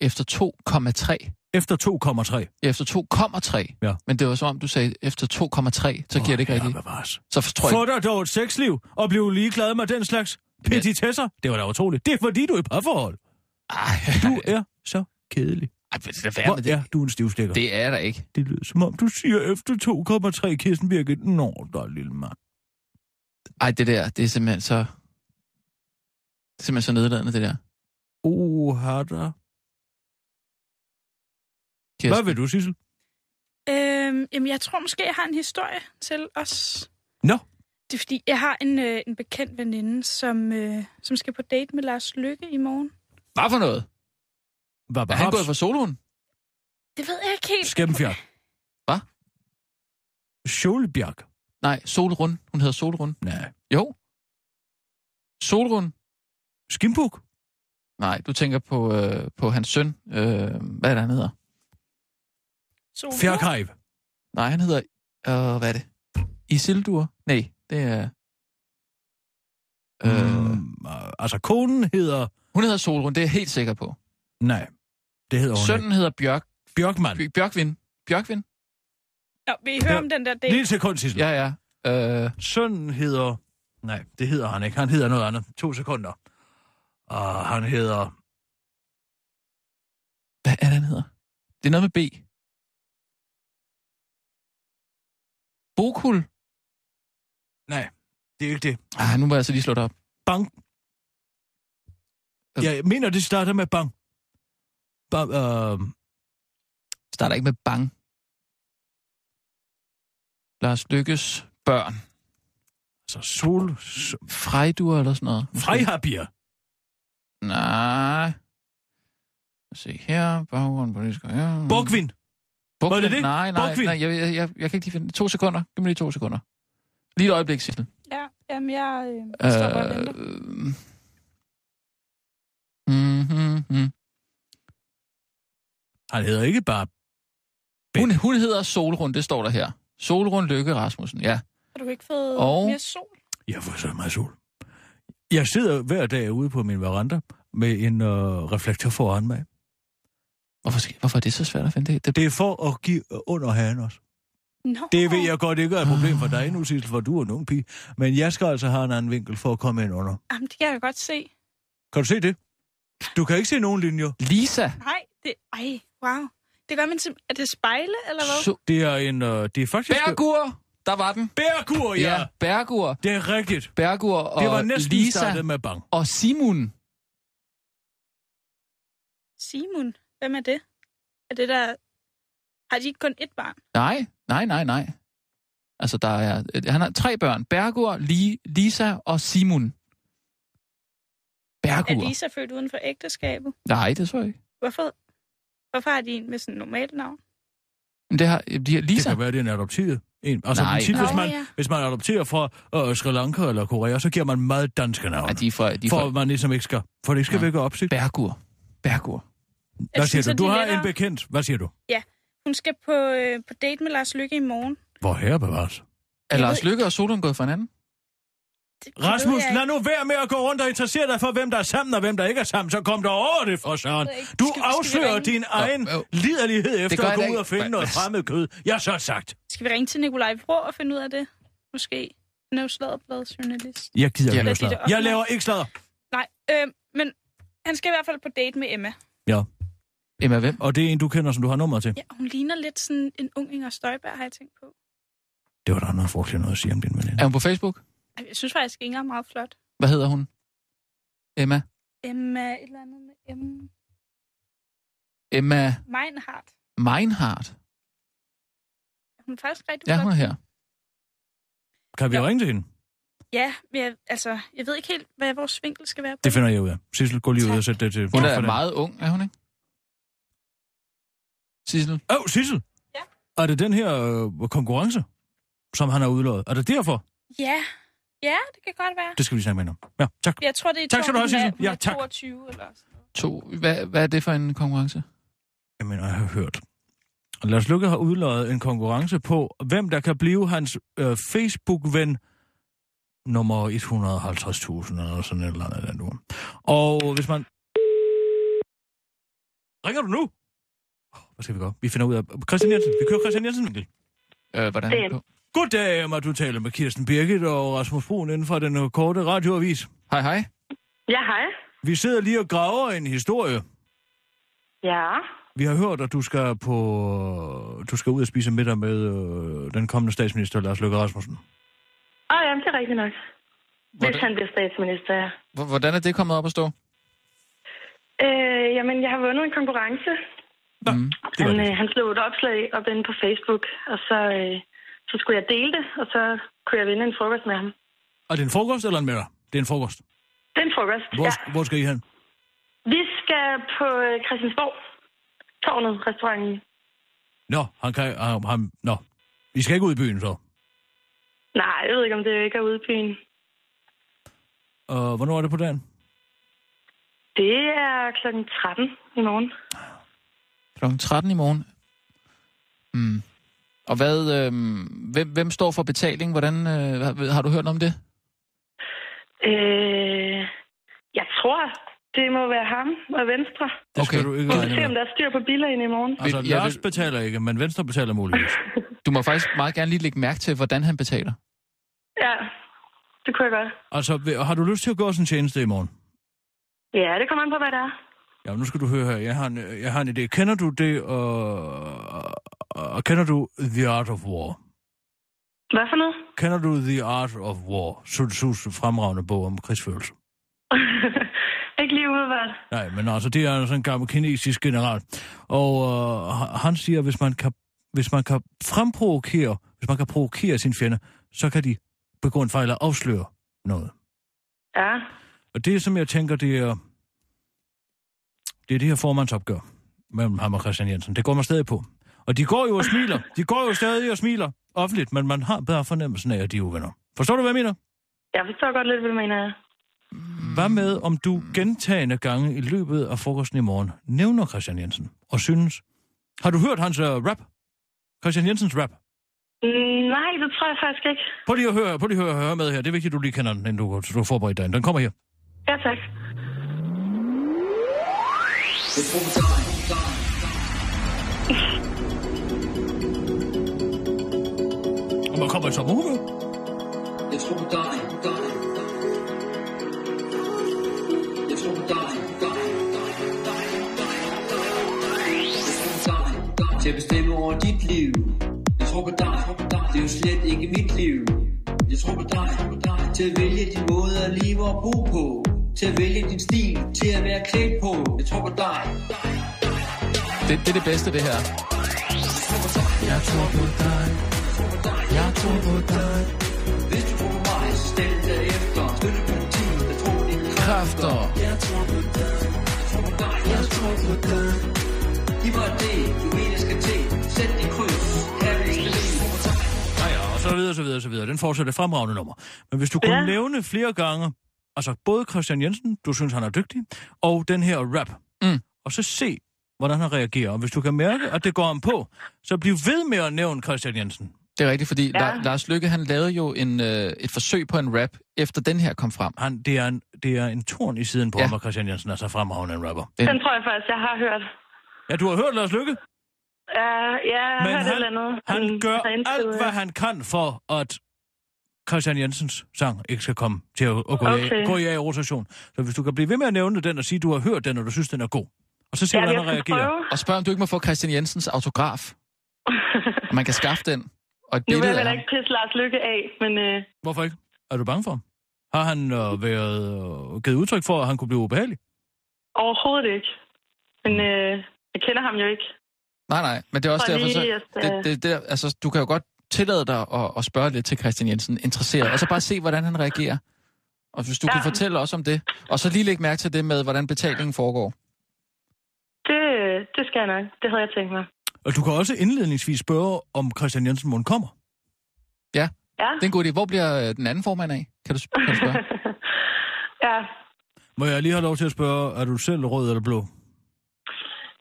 Speaker 5: efter 2,3.
Speaker 4: Efter 2,3.
Speaker 5: Efter 2,3.
Speaker 4: Ja.
Speaker 5: Men det var som om, du sagde, efter 2,3, så giver det ikke
Speaker 4: Åh,
Speaker 5: rigtigt.
Speaker 4: herre bevares.
Speaker 5: Så forstår jeg
Speaker 4: Få dig dog et sexliv og bliv ligeglad med den slags petitesser. Det var da utroligt. Det er fordi, du er i parforhold.
Speaker 5: Ej,
Speaker 4: Du er så kedelig.
Speaker 5: ej, men det er da værd
Speaker 4: Hvor
Speaker 5: med
Speaker 4: er
Speaker 5: det.
Speaker 4: du en stivstikker?
Speaker 5: Det er der ikke.
Speaker 4: Det lyder som om, du siger efter 2,3 Kirsten Birgit. Nå, der er lille mand.
Speaker 5: Ej, det der, det er simpelthen så... Det er simpelthen så nedladende, det der.
Speaker 4: Oha da.
Speaker 5: Kirsten.
Speaker 4: Hvad vil du, Sissel?
Speaker 9: Øhm, jamen, jeg tror måske, jeg har en historie til os.
Speaker 4: Nå.
Speaker 9: Det er fordi, jeg har en, øh, en bekendt veninde, som, øh, som skal på date med Lars Lykke i morgen.
Speaker 5: Hvad for noget?
Speaker 4: Hvad
Speaker 5: Er
Speaker 4: var
Speaker 5: han gået for soloen?
Speaker 9: Det ved jeg ikke helt.
Speaker 4: Skæmfjert.
Speaker 5: Hvad?
Speaker 4: Sjolbjerg.
Speaker 5: Nej, Solrun. Hun hedder Solrun.
Speaker 4: Nej.
Speaker 5: Jo. Solrun.
Speaker 4: Skimbuk.
Speaker 5: Nej, du tænker på, øh, på hans søn. Øh, hvad er det, han hedder?
Speaker 9: Sol-
Speaker 4: Fjerkajv.
Speaker 5: Nej, han hedder... Øh, hvad er det? Isildur? Nej, det er... Øh, mm.
Speaker 4: Mm, altså, konen hedder...
Speaker 5: Hun hedder Solrun, det er jeg helt sikker på.
Speaker 4: Nej, det hedder hun ikke.
Speaker 5: Sønnen hedder Bjørk,
Speaker 4: Bjørkman.
Speaker 5: Bj- Bjørkvin. Bjørkvin?
Speaker 9: Nå, vil I høre om den der date?
Speaker 4: Lige et sekund, Sissel.
Speaker 5: Ja, ja. Øh,
Speaker 4: Sønnen hedder... Nej, det hedder han ikke. Han hedder noget andet. To sekunder. Og han hedder...
Speaker 5: hvad er det, han hedder? Det er noget med B. Bokul?
Speaker 4: Nej, det er ikke det.
Speaker 5: Ah, nu må jeg så lige slå det op.
Speaker 4: Bang. Jeg mener, det starter med bang. Bang, øh,
Speaker 5: Starter ikke med bang. Lars Lykkes børn.
Speaker 4: altså, sol...
Speaker 5: Frejdur eller sådan noget. måske.
Speaker 4: Frejhabier.
Speaker 5: Nej. Lad os se her. Baggrund, politisk. Ja.
Speaker 4: Borgvin.
Speaker 5: Bukvin.
Speaker 4: Var det det?
Speaker 5: Nej, nej,
Speaker 4: Bukvin?
Speaker 5: nej. Jeg, jeg, jeg, jeg kan ikke lige finde det. To sekunder. Giv mig lige to sekunder. Lige et øjeblik, Sissel.
Speaker 9: Ja, jamen, jeg øh, stopper og
Speaker 5: Øh,
Speaker 9: venter.
Speaker 5: mm, mm, mm.
Speaker 4: Han hedder ikke bare...
Speaker 5: Hun, hun hedder Solrund, det står der her. Solrund Lykke Rasmussen, ja.
Speaker 9: Har du ikke fået
Speaker 5: Og-
Speaker 9: mere sol?
Speaker 4: Jeg får så meget sol. Jeg sidder hver dag ude på min veranda med en øh, reflektor foran mig.
Speaker 5: Hvorfor, skal, hvorfor er det så svært at finde det? det, det
Speaker 4: Det er for at give under Anders.
Speaker 9: Nå.
Speaker 4: Det ved jeg godt ikke er et problem for dig nu, Sissel, for du er en ung pige. Men jeg skal altså have en anden vinkel for at komme ind under.
Speaker 9: Jamen, det kan jeg godt se.
Speaker 4: Kan du se det? Du kan ikke se nogen linjer.
Speaker 5: Lisa!
Speaker 9: Nej, det... Ej, wow. Det gør man simpelthen... Er det spejle, eller hvad?
Speaker 5: Su-
Speaker 4: Det er en... Øh, det er faktisk...
Speaker 5: Bergur! Der var den.
Speaker 4: Bærkur, ja. ja.
Speaker 5: Bergur.
Speaker 4: Det er rigtigt.
Speaker 5: Bergur og
Speaker 4: Det var næsten Lisa.
Speaker 5: Lisa
Speaker 4: startet med bang.
Speaker 5: og Simon.
Speaker 9: Simon. Hvem er det? Er det der... Har de ikke kun ét barn?
Speaker 5: Nej, nej, nej, nej. Altså, der er, øh, han har tre børn. Bergur, Li, Lisa og Simon.
Speaker 9: Er
Speaker 5: Bergur.
Speaker 9: Lisa født uden for ægteskabet?
Speaker 5: Nej, det tror jeg ikke.
Speaker 9: Hvorfor, Hvorfor har de en med sådan et normalt navn?
Speaker 5: Men det har, øh, de har
Speaker 4: Det
Speaker 5: Lisa.
Speaker 4: kan være, det er en adoptivet. En, altså,
Speaker 5: Nej.
Speaker 4: Nej. Princip, hvis,
Speaker 9: Nå,
Speaker 4: man,
Speaker 9: ja.
Speaker 4: hvis man adopterer fra øh, Sri Lanka eller Korea, så giver man meget danske navne.
Speaker 5: Ja, de er for, de er
Speaker 4: for at
Speaker 5: for
Speaker 4: man ligesom ikke skal, for det ikke skal
Speaker 5: Ja.
Speaker 4: vække opsigt.
Speaker 5: Bergur. Bergur.
Speaker 4: Hvad
Speaker 5: Altså,
Speaker 4: siger
Speaker 9: synes,
Speaker 4: du?
Speaker 9: at
Speaker 4: Du
Speaker 9: de
Speaker 4: har
Speaker 9: lettere-
Speaker 4: en bekendt. Hvad siger du?
Speaker 9: Hun skal på, øh, på date med Lars Lykke i morgen.
Speaker 4: Hvor herre bevares.
Speaker 5: Er
Speaker 9: Jeg
Speaker 5: Lars
Speaker 9: ved-
Speaker 5: Lykke og Solon gået for hinanden?
Speaker 9: Det ved
Speaker 4: Rasmus,
Speaker 9: jeg ikke.
Speaker 4: lad nu være med at gå rundt og interessere dig for, hvem der er sammen og hvem der ikke er sammen. Så kom der over det, for søren.
Speaker 9: ved ikke.
Speaker 4: Du
Speaker 9: Skal vi- skal vi
Speaker 4: afslører
Speaker 9: ringe?
Speaker 4: din egen
Speaker 5: jo.
Speaker 4: liderlighed
Speaker 5: Det
Speaker 4: efter
Speaker 5: gør
Speaker 4: at
Speaker 5: jeg
Speaker 4: gå
Speaker 5: da
Speaker 4: ud
Speaker 5: ikke.
Speaker 4: og finde
Speaker 5: Men-
Speaker 4: noget fremmed kød. Jeg har så sagt.
Speaker 9: Skal vi ringe til Nikolaj Vrå og finde ud af det? Måske. Han er jo sladderbladsjournalist.
Speaker 4: Jeg gider
Speaker 5: Ja.
Speaker 4: ikke lave
Speaker 9: Lad de det
Speaker 4: sladder.
Speaker 9: op.
Speaker 4: Jeg laver ikke sladder.
Speaker 9: Nej, øh, men han skal i hvert fald på date med Emma.
Speaker 5: Emma, hvem?
Speaker 4: Og det er en, du kender, som du har nummer til.
Speaker 9: Ja, hun ligner lidt sådan en ung Inger Støjberg, har jeg tænkt på.
Speaker 4: Det var der noget frugteligt noget at sige om din veninde.
Speaker 5: Er hun på Facebook?
Speaker 9: Ej, Jeg synes faktisk, Inger er meget flot.
Speaker 5: Hvad hedder hun? Emma.
Speaker 9: Emma, et eller andet med Emma.
Speaker 5: Emma
Speaker 9: Meinhardt.
Speaker 5: Meinhardt.
Speaker 9: Hun er faktisk rigtig
Speaker 5: Ja,
Speaker 9: flot.
Speaker 5: hun er her.
Speaker 4: Kan vi
Speaker 9: Ja.
Speaker 4: ringe til hende?
Speaker 9: Ja, men jeg, altså, jeg ved ikke helt, hvad vores vinkel skal være på.
Speaker 4: Det finder jeg ud af. Sissel, gå lige ud og sæt det til.
Speaker 5: Hun
Speaker 4: Tak for
Speaker 5: er
Speaker 4: det.
Speaker 5: meget ung, er hun ikke? Sissel?
Speaker 4: Åh, oh, Sissel!
Speaker 9: Ja?
Speaker 4: Er det den her øh, konkurrence, som han har udlået? Er det derfor?
Speaker 9: Ja, ja, det kan godt være.
Speaker 4: Det skal vi snakke med hende om. Ja, tak.
Speaker 9: Jeg tror, det er
Speaker 4: Tak skal du have,
Speaker 9: hun er-
Speaker 4: Sissel.
Speaker 9: hun er
Speaker 4: Ja, tak.
Speaker 9: 22 eller sådan noget.
Speaker 5: To. Hvad, hvad er det for en konkurrence?
Speaker 4: Jamen, jeg har hørt. Lars Lykke har udløjet en konkurrence på, hvem der kan blive hans øh, Facebook-ven nummer 150.000 eller sådan et eller andet. i Den uge. Og hvis man... Ringer du nu? Åh, Hvad skal vi gøre? Vi finder ud af... Christian Jensen. Vi kører Christian Jensen. Mikkel.
Speaker 5: Øh, hvordan
Speaker 8: Det er-
Speaker 4: Goddag, Emma. Du taler med Kirsten Birgit og Rasmus Brun inden for den øh, korte radioavis.
Speaker 5: Hej, hej.
Speaker 10: Ja, hej.
Speaker 4: Vi sidder lige og graver en historie.
Speaker 10: Ja,
Speaker 4: Vi har hørt, at du skal på, du skal ud og spise middag med øh, den kommende statsminister, Lars Løkke Rasmussen.
Speaker 10: og jamen, det er rigtigt nok. Hvis
Speaker 5: Hvordan,
Speaker 10: han bliver statsminister, ja.
Speaker 5: h- hvordan er det kommet op at stå?
Speaker 10: Øh, jamen, jeg har vundet en konkurrence.
Speaker 4: Nå,
Speaker 5: Mm.
Speaker 4: det var
Speaker 10: Han,
Speaker 4: det.
Speaker 10: øh, han slog et opslag op inde på Facebook, og så, øh, så skulle jeg dele det, og så kunne jeg vinde en frokost med ham.
Speaker 4: Er det en frokost eller en middag? Det er en frokost.
Speaker 10: Det er en frokost,
Speaker 4: Hvor,
Speaker 10: ja.
Speaker 4: hvor skal I hen?
Speaker 10: Vi skal på øh, Christiansborg. Tårnet, restauranten.
Speaker 4: Nå, han kan, han, han, nå. I skal ikke ud i byen, så.
Speaker 10: Nej, jeg ved ikke, om det ikke er ude i byen.
Speaker 4: Uh, hvornår er det på dagen?
Speaker 10: Det er kl. 13 i morgen.
Speaker 5: Klokken 13 i morgen. Mm. Og hvad, øh, hvem, hvem står for betaling? Hvordan, øh, har, har du hørt om det?
Speaker 10: Øh, jeg tror, det må være ham og Venstre.
Speaker 4: Det skal
Speaker 5: Okay.
Speaker 4: du ikke
Speaker 10: Vi
Speaker 4: regne
Speaker 10: må se, om
Speaker 4: med.
Speaker 10: der er styr på bilerne i morgen.
Speaker 4: Altså,
Speaker 5: Vil- ja,
Speaker 4: Lars
Speaker 5: vil-
Speaker 4: betaler ikke, men Venstre betaler muligvis.
Speaker 5: Du må faktisk meget gerne lige lægge mærke til, hvordan han betaler.
Speaker 10: Ja, det kunne jeg godt.
Speaker 4: Altså, vil- har du lyst til at gå os en tjeneste i morgen?
Speaker 10: Ja, det kommer an på, hvad det er.
Speaker 4: Ja, nu skal du høre her. Jeg har en, øh, jeg har en idé. Kender du det, og, og kender du The Art of War?
Speaker 10: Hvad for noget?
Speaker 4: Kender du The Art of War? Sun Tzu's fremragende bog om krigsførelse.
Speaker 10: ikke lige udvalgt.
Speaker 4: Nej, men altså, det er sådan en gammel kinesisk general. Og øh, h- han siger, at hvis man kan, hvis man kan fremprovokere, hvis man kan provokere sin fjende, så kan de begå en fejl og afsløre noget.
Speaker 10: Ja,
Speaker 4: Og det, som jeg tænker, det er det, er det her formandsopgør mellem ham og Christian Jensen. Det går man stadig på. Og de går jo og smiler. De går jo stadig og smiler offentligt, men man har bare fornemmelsen af, at de er uvenner. Forstår du, hvad jeg mener?
Speaker 10: jeg forstår godt lidt, hvad du mener.
Speaker 4: Hvad med, om du gentagende gange i løbet af frokosten i morgen nævner Christian Jensen og synes... Har du hørt hans uh, rap? Christian Jensens rap?
Speaker 10: Mm, Nej, det tror jeg faktisk ikke.
Speaker 4: Prøv lige at høre, prøv lige at høre, høre med her. Det er vigtigt, at du lige kender den, inden du, går- så du forbereder dig. Den kommer her.
Speaker 10: Ja, tak.
Speaker 4: Og hvor kommer et sommerhue?
Speaker 11: Jeg tror på dig, dig, dig. Jeg tror på dig, dig, dig, dig, dig, dig, dig. Jeg tror på dig, dig, til at bestemme over dit liv. Jeg tror på dig, tror på dig, det er jo slet ikke mit liv. Jeg tror på dig, tror på dig, til at vælge din måde at leve og bo på. Til at vælge din stil, til at være klædt på. Jeg tror på dig.
Speaker 5: Det, det er det bedste, det her.
Speaker 11: Jeg tror på dig. Jeg tror på dig. Hvis du tror på mig, så stil dig efter. Støtte politiet, jeg tror på dine kræfter. Jeg tror på dig. Jeg tror på dig. Jeg tror på dig. Giv mig det, du mener skal til. Sæt dit kryds. Her vil jeg
Speaker 4: Ja, ja, og så videre, så videre, så videre. Den fortsætter fremragende nummer. Men hvis du kunne ja. nævne flere gange, altså både Christian Jensen, du synes, han er dygtig, og den her rap,
Speaker 5: mm.
Speaker 4: og så se, hvordan han reagerer. Og hvis du kan mærke, at det går ham på, så bliv ved med at nævne Christian Jensen.
Speaker 5: Det er rigtigt, fordi
Speaker 4: Ja.
Speaker 5: ja. La- Lars Lykke, han lavede jo en, øh, et forsøg på en rap, efter den her kom frem.
Speaker 4: Han, det, er en, det er en torn i siden på ja. ham, at Christian Jensen er så fremragende en rapper.
Speaker 10: Den tror jeg faktisk, jeg har hørt.
Speaker 4: Ja, du har hørt Lars Lykke?
Speaker 10: Uh, ja, jeg har
Speaker 4: Men
Speaker 10: hørt et
Speaker 4: han,
Speaker 10: eller andet.
Speaker 4: han gør
Speaker 10: har indstillet,
Speaker 4: alt, hvad han kan for, at Christian Jensens sang ikke skal komme til at, at gå, okay. i,
Speaker 10: Okay.
Speaker 4: gå i af i rotation. Så hvis du kan blive ved med at nævne den og sige, du har hørt den, og du synes, den er god, og så se,
Speaker 10: Ja,
Speaker 4: hvordan
Speaker 10: jeg
Speaker 4: han
Speaker 10: skal
Speaker 4: reagerer.
Speaker 10: prøve.
Speaker 5: Og spørg, om du ikke må få Christian Jensens autograf. og man kan skaffe den. Og et
Speaker 10: Nu vil
Speaker 5: billede
Speaker 10: jeg
Speaker 5: af
Speaker 10: heller
Speaker 5: ham.
Speaker 10: ikke pisse Lars Lykke af, men øh,
Speaker 4: Hvorfor ikke? Er du bange for ham? Har han øh, været, øh, givet udtryk for, at han kunne blive ubehagelig?
Speaker 10: overhovedet ikke. Men øh, jeg kender ham jo ikke.
Speaker 5: Nej, nej, men det er også
Speaker 10: For
Speaker 5: derfor, så,
Speaker 10: lige at, øh,
Speaker 5: det, det, det, altså, du kan jo godt tillade dig at, at spørge lidt til Christian Jensen, interesseret, og så bare se, hvordan han reagerer. Og hvis du ja. kan fortælle os om det, og så lige lægge mærke til det med, hvordan betalingen foregår.
Speaker 10: Det, det skal jeg nok. Det havde jeg tænkt mig.
Speaker 4: Og du kan også indledningsvis spørge, om Christian Jensen mon kommer.
Speaker 5: Ja,
Speaker 10: Ja.
Speaker 5: det er en god idé. Hvor bliver øh, den anden formand af? Kan du, sp- kan du spørge?
Speaker 10: Ja,
Speaker 4: Må jeg lige have lov til at spørge, er du selv rød eller blå?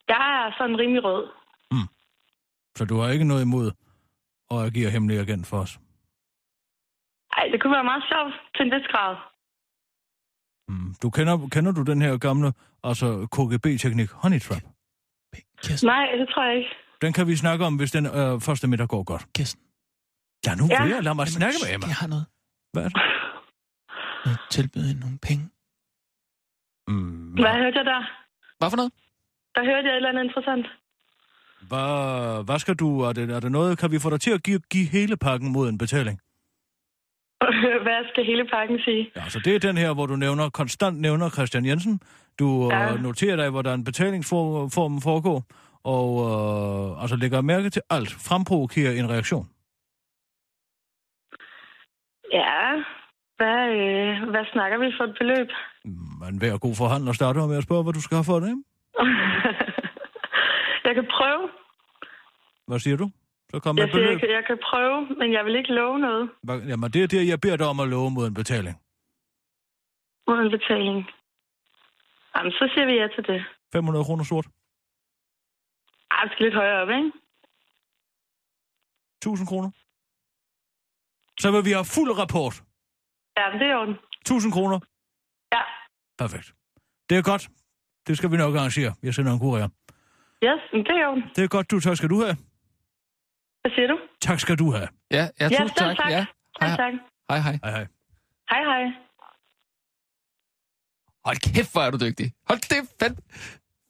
Speaker 10: jeg er sådan rimelig rød.
Speaker 4: Så du har ikke noget imod at agere hemmelig agent for os.
Speaker 10: Ej, det kunne være meget sjovt til en vis grad.
Speaker 4: Mm. Du kender, kender du den her gamle, altså KGB-teknik, honey trap?
Speaker 10: Nej, det tror jeg ikke.
Speaker 4: Den kan vi snakke om, hvis den øh, første middag går godt.
Speaker 5: Kirsten.
Speaker 4: Ja, nu
Speaker 10: Ja.
Speaker 4: ja. vil jeg. Lad mig snakke med Emma.
Speaker 5: Jeg har noget.
Speaker 4: Hvad er det?
Speaker 5: Jeg tilbyder hende nogle penge.
Speaker 4: Mm,
Speaker 10: Hvad hørte jeg der?
Speaker 5: Hvad for noget?
Speaker 10: Der hørte jeg et eller andet interessant.
Speaker 4: hvad, hvad skal du? Er det, er det noget? Kan vi få dig til at give, give hele pakken mod en betaling?
Speaker 10: Hvad skal hele pakken sige?
Speaker 4: Ja, så det er den her, hvor du nævner, konstant nævner Christian Jensen. Du ja.
Speaker 10: Ja.
Speaker 4: øh, noterer dig, hvor der er en betalingsform foregår. Og øh, altså lægger mærke til alt. Fremprovokerer en reaktion.
Speaker 10: Ja, hvad, øh, hvad snakker vi for et beløb?
Speaker 4: Men hver god forhandler starter med at spørge, hvad du skal have for det, ikke?
Speaker 10: jeg kan prøve.
Speaker 4: Hvad siger du? Så kom med
Speaker 10: Jeg,
Speaker 4: et
Speaker 10: siger, jeg,
Speaker 4: beløb.
Speaker 10: kan, jeg kan prøve, men jeg vil ikke love noget
Speaker 4: Hvad- Jamen, det er det, jeg beder dig om at love mod en betaling.
Speaker 10: uden betaling. Jamen, så siger vi ja til det.
Speaker 4: 500 kroner sort.
Speaker 10: Ej, vi skal lidt højere op, ikke?
Speaker 4: 1000 kroner. Så vil vi have fuld rapport.
Speaker 10: Ja, men det er i orden.
Speaker 4: 1000 kroner.
Speaker 10: Ja.
Speaker 4: Perfekt. Det er godt. Det skal vi nok arrangere. Jeg sender en kurier.
Speaker 10: Yes, men det er i orden.
Speaker 4: Det er godt, du. Tak skal du have.
Speaker 10: Hvad siger du?
Speaker 4: Tak skal du have.
Speaker 5: Ja, ja,
Speaker 10: ja,
Speaker 5: tusind
Speaker 10: selv
Speaker 5: tak.
Speaker 10: tak.
Speaker 5: Ja.
Speaker 10: Selv
Speaker 5: Hej,
Speaker 10: tak.
Speaker 5: hej, hej.
Speaker 4: Hej, hej.
Speaker 10: Hej, hej.
Speaker 5: Hold kæft, hvor er du dygtig. Hold det fandt.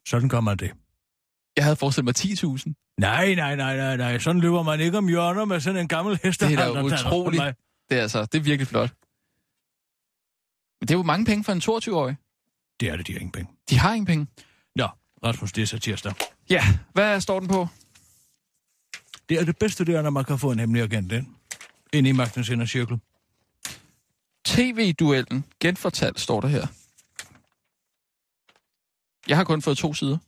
Speaker 4: Sådan gør man det.
Speaker 5: Jeg havde forestillet mig 10.000.
Speaker 4: Nej, nej, nej, nej, nej. Sådan løber man ikke om hjørner med sådan en gammel hest.
Speaker 5: Det er da utroligt. Det er altså, det er virkelig flot. Men det er jo mange penge for en 22-årig.
Speaker 4: Det er det, de har ingen penge.
Speaker 5: De har ingen penge.
Speaker 4: Nå, Rasmus, det er satirsdag.
Speaker 5: Ja, hvad står den på?
Speaker 4: Det er det bedste, det er, når man kan få en hemmelig agent ind. Ind i magtens indercirkel.
Speaker 5: TV-duellen genfortalt, står der her. Jeg har kun fået to sider.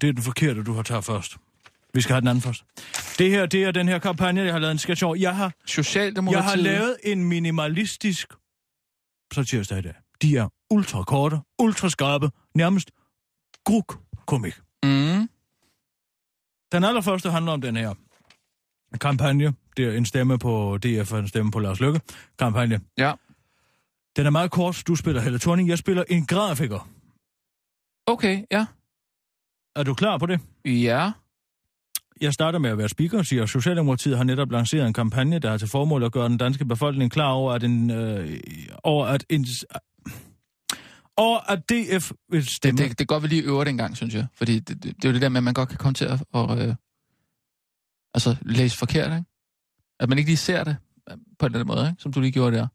Speaker 4: Det er den forkerte, du har taget først. Vi skal have den anden først. Det her, det er den her kampagne, jeg har lavet en sketch over. Jeg har, jeg har
Speaker 5: Socialdemokratiet.
Speaker 4: lavet en minimalistisk satirsdag i dag. De er ultra korte, ultra skarpe, nærmest gruk komik.
Speaker 5: Mm.
Speaker 4: Den allerførste handler om den her kampagne. Det er en stemme på DF og en stemme på Lars Løkke. Kampagne.
Speaker 5: Ja.
Speaker 4: Den er meget kort. Du spiller Helle Thorning. Jeg spiller en grafiker.
Speaker 5: Okay, ja.
Speaker 4: Er du klar på det?
Speaker 5: Ja.
Speaker 4: Jeg starter med at være speaker, siger Socialdemokratiet har netop lanceret en kampagne, der har til formål at gøre den danske befolkning klar over, at en... Øh, over at en og at DF vil
Speaker 5: stemme. Det, det, det godt, vi lige øver det en gang, synes jeg. Fordi det, det, det er jo det der med, at man godt kan komme til at og, øh, altså, læse forkert, ikke? At man ikke lige ser det øh, på den måde, ikke? som du lige gjorde der.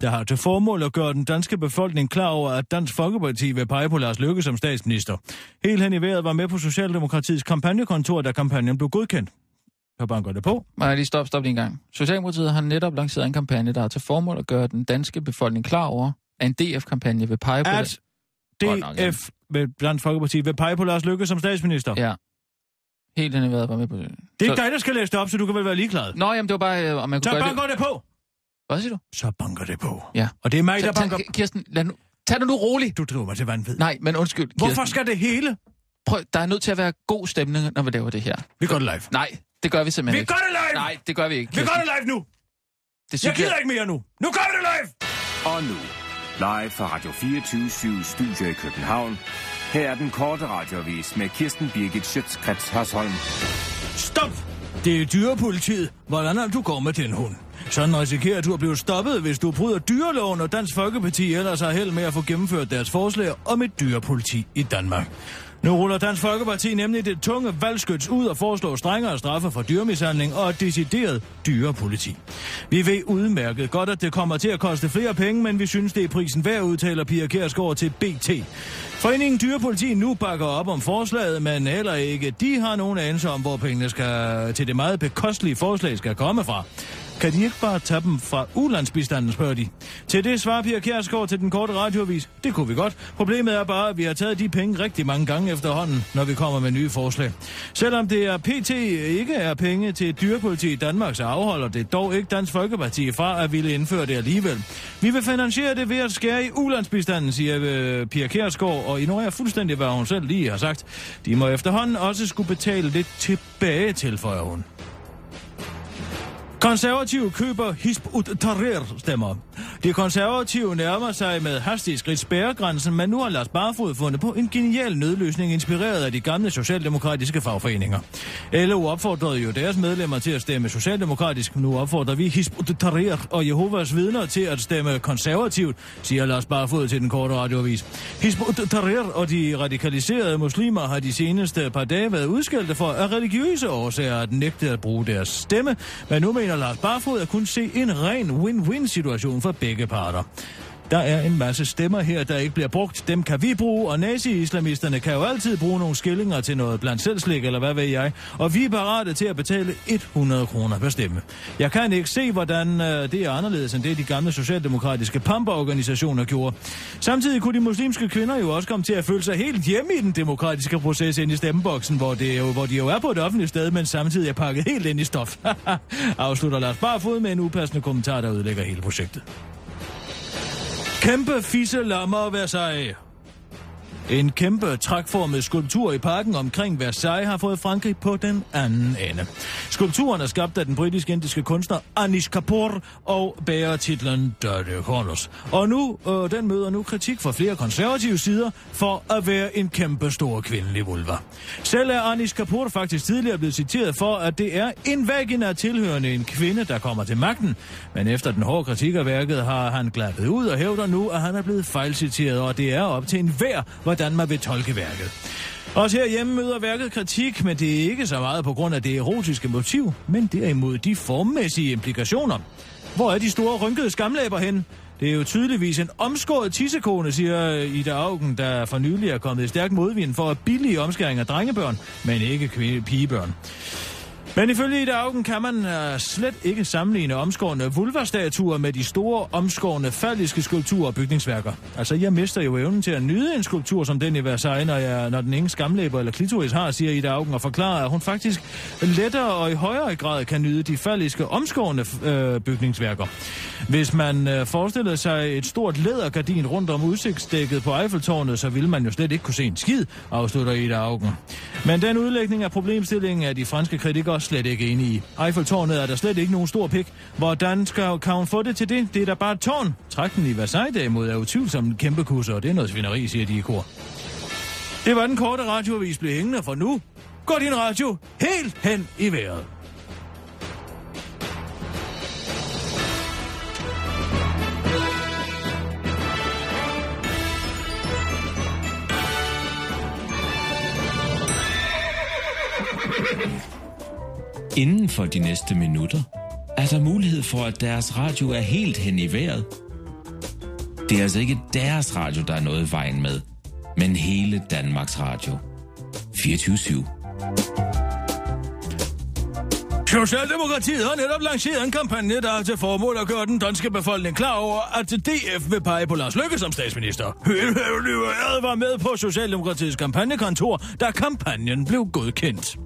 Speaker 4: Der har til formål at gøre den danske befolkning klar over, at Dansk Folkeparti vil pege på Lars Løkke som statsminister. Helt hen i vejret var med på Socialdemokratiets kampagnekontor, da kampagnen blev godkendt. Jeg banker det på.
Speaker 5: Nej, lige stop, stop lige en gang. Socialdemokratiet har netop lanceret en kampagne, der har til formål at gøre den danske befolkning klar over, at en DF-kampagne vil pege på...
Speaker 4: At det. DF nok, ja. ved Dansk Folkeparti vil pege på Lars Løkke som statsminister.
Speaker 5: Ja. Helt hen i vejret var med på det.
Speaker 4: Det er så... dig, der skal læse det op, så du kan vel være ligeglad.
Speaker 5: Nå, jamen det var bare, øh, om man kunne
Speaker 4: Så banker det... det på!
Speaker 5: Hvad siger du?
Speaker 4: Så banker det på.
Speaker 5: Ja.
Speaker 4: Og det er mig, så, der banker...
Speaker 5: Kirsten, lad nu... Tag det nu roligt.
Speaker 4: Du driver mig til vanvid.
Speaker 5: Nej, men undskyld, Kirsten.
Speaker 4: Hvorfor skal det hele?
Speaker 5: Prøv, der er nødt til at være god stemning, når vi laver det her.
Speaker 4: Vi gør det live.
Speaker 5: Nej, det gør vi simpelthen
Speaker 4: vi
Speaker 5: ikke.
Speaker 4: Vi gør det live!
Speaker 5: Nej, det gør vi ikke.
Speaker 4: Kirsten. Vi gør det live nu! Det synes jeg gider jeg... ikke mere nu. Nu gør vi det live!
Speaker 6: Og nu, live fra Radio 24 Studio i København. Her er den korte radiovis med Kirsten Birgit Schøtzgrads Hasholm.
Speaker 4: Stop! Det er dyrepolitiet. Hvordan er du kommet til en hund? Sådan risikerer du at blive stoppet, hvis du bryder dyreloven, og Dansk Folkeparti ellers har held med at få gennemført deres forslag om et dyrepoliti i Danmark. Nu ruller Dansk Folkeparti nemlig det tunge valgskyts ud og foreslår strengere straffe for dyremishandling og et decideret dyrepoliti. Vi ved udmærket godt, at det kommer til at koste flere penge, men vi synes, det er prisen værd, udtaler Pia Kærsgaard til BT. Foreningen Dyrepoliti nu bakker op om forslaget, men heller ikke de har nogen anelse om, hvor pengene skal til det meget bekostelige forslag skal komme fra. Kan de ikke bare tage dem fra ulandsbistanden, spørger de. Til det svarer Pia Kjærsgaard til den korte radiovis. Det kunne vi godt. Problemet er bare, at vi har taget de penge rigtig mange gange efterhånden, når vi kommer med nye forslag. Selvom det er PT ikke er penge til dyrepoliti i Danmark, så afholder det dog ikke Dansk Folkeparti fra at ville indføre det alligevel. Vi vil finansiere det ved at skære i ulandsbistanden, siger øh, Pia Kjærsgaard, og ignorerer fuldstændig, hvad hun selv lige har sagt. De må efterhånden også skulle betale lidt tilbage, tilføjer hun. Konservative køber Hisp ut Tahrir stemmer. De konservative nærmer sig med hastige skridt spærregrænsen, men nu har Lars Barfod fundet på en genial nødløsning inspireret af de gamle socialdemokratiske fagforeninger. LO opfordrede jo deres medlemmer til at stemme socialdemokratisk. Nu opfordrer vi Hisp ut Tahrir og Jehovas vidner til at stemme konservativt, siger Lars Barfod til den korte radioavis. Hisp ut Tahrir og de radikaliserede muslimer har de seneste par dage været udskældte for af religiøse årsager at nægte at bruge deres stemme, men nu mener mener Lars Barfod at kunne se en ren win-win-situation for begge parter. Der er en masse stemmer her, der ikke bliver brugt. Dem kan vi bruge, og nazi-islamisterne kan jo altid bruge nogle skillinger til noget blandt selvslik, eller hvad ved jeg. Og vi er parate til at betale 100 kroner per stemme. Jeg kan ikke se, hvordan øh, det er anderledes end det, de gamle socialdemokratiske pamperorganisationer gjorde. Samtidig kunne de muslimske kvinder jo også komme til at føle sig helt hjemme i den demokratiske proces inde i stemmeboksen, hvor, det jo, hvor de jo er på et offentligt sted, men samtidig er pakket helt ind i stof. Afslutter Lars Barfod med en upassende kommentar, der ødelægger hele projektet. Kæmpe fisse lammer Versailles. En kæmpe trækformet skulptur i parken omkring Versailles har fået Frankrig på den anden ende. Skulpturen er skabt af den britisk-indiske kunstner Anish Kapoor og bærer titlen Dirty Corners. Og nu, øh, den møder nu kritik fra flere konservative sider for at være en kæmpe stor kvindelig vulva. Selv er Anish Kapoor faktisk tidligere blevet citeret for, at det er en vagina tilhørende en kvinde, der kommer til magten. Men efter den hårde kritik af værket har han glappet ud og hævder nu, at han er blevet fejlciteret, og det er op til en hver, hvordan man vil tolke værket. Også herhjemme møder værket kritik, men det er ikke så meget på grund af det erotiske motiv, men derimod de formmæssige implikationer. Hvor er de store rynkede skamlæber hen? Det er jo tydeligvis en omskåret tissekone, siger Ida Augen, der for nylig er kommet i stærk modvind for at billige omskæring af drengebørn, men ikke pigebørn. Men ifølge Ida Augen kan man øh, slet ikke sammenligne omskårende vulvastatuer med de store omskårende faldiske skulpturer og bygningsværker. Altså, jeg mister jo evnen til at nyde en skulptur som den i Versailles, når, jeg, når den ingen skamlæber eller klitoris har, siger Ida Augen, og forklarer, at hun faktisk lettere og i højere grad kan nyde de faldiske omskårende øh, bygningsværker. Hvis man øh, forestillede sig et stort lædergardin rundt om udsigtsdækket på Eiffeltårnet, så ville man jo slet ikke kunne se en skid, afslutter Ida Augen. Men den udlægning af problemstillingen er de franske kritikere slet ikke enig i. Eiffeltårnet er der slet ikke nogen stor pik. Hvordan skal kan hun få det til det? Det er da bare et tårn. Trækken i Versailles derimod er utvivlsomt en kæmpe kusser, og det er noget svineri, siger de i kor. Det var den korte radioavis blev hængende for nu. Gå din radio helt hen i vejret.
Speaker 12: Inden for de næste minutter er der mulighed for, at deres radio er helt hen i vejret. Det er altså ikke deres radio, der er noget i vejen med, men hele Danmarks Radio. 24
Speaker 4: Socialdemokratiet har netop lanceret en kampagne, der har til formål at gøre den danske befolkning klar over, at DF vil pege på Lars Løkke som statsminister. Hele Løveret var med på Socialdemokratiets kampagnekontor, da kampagnen blev godkendt.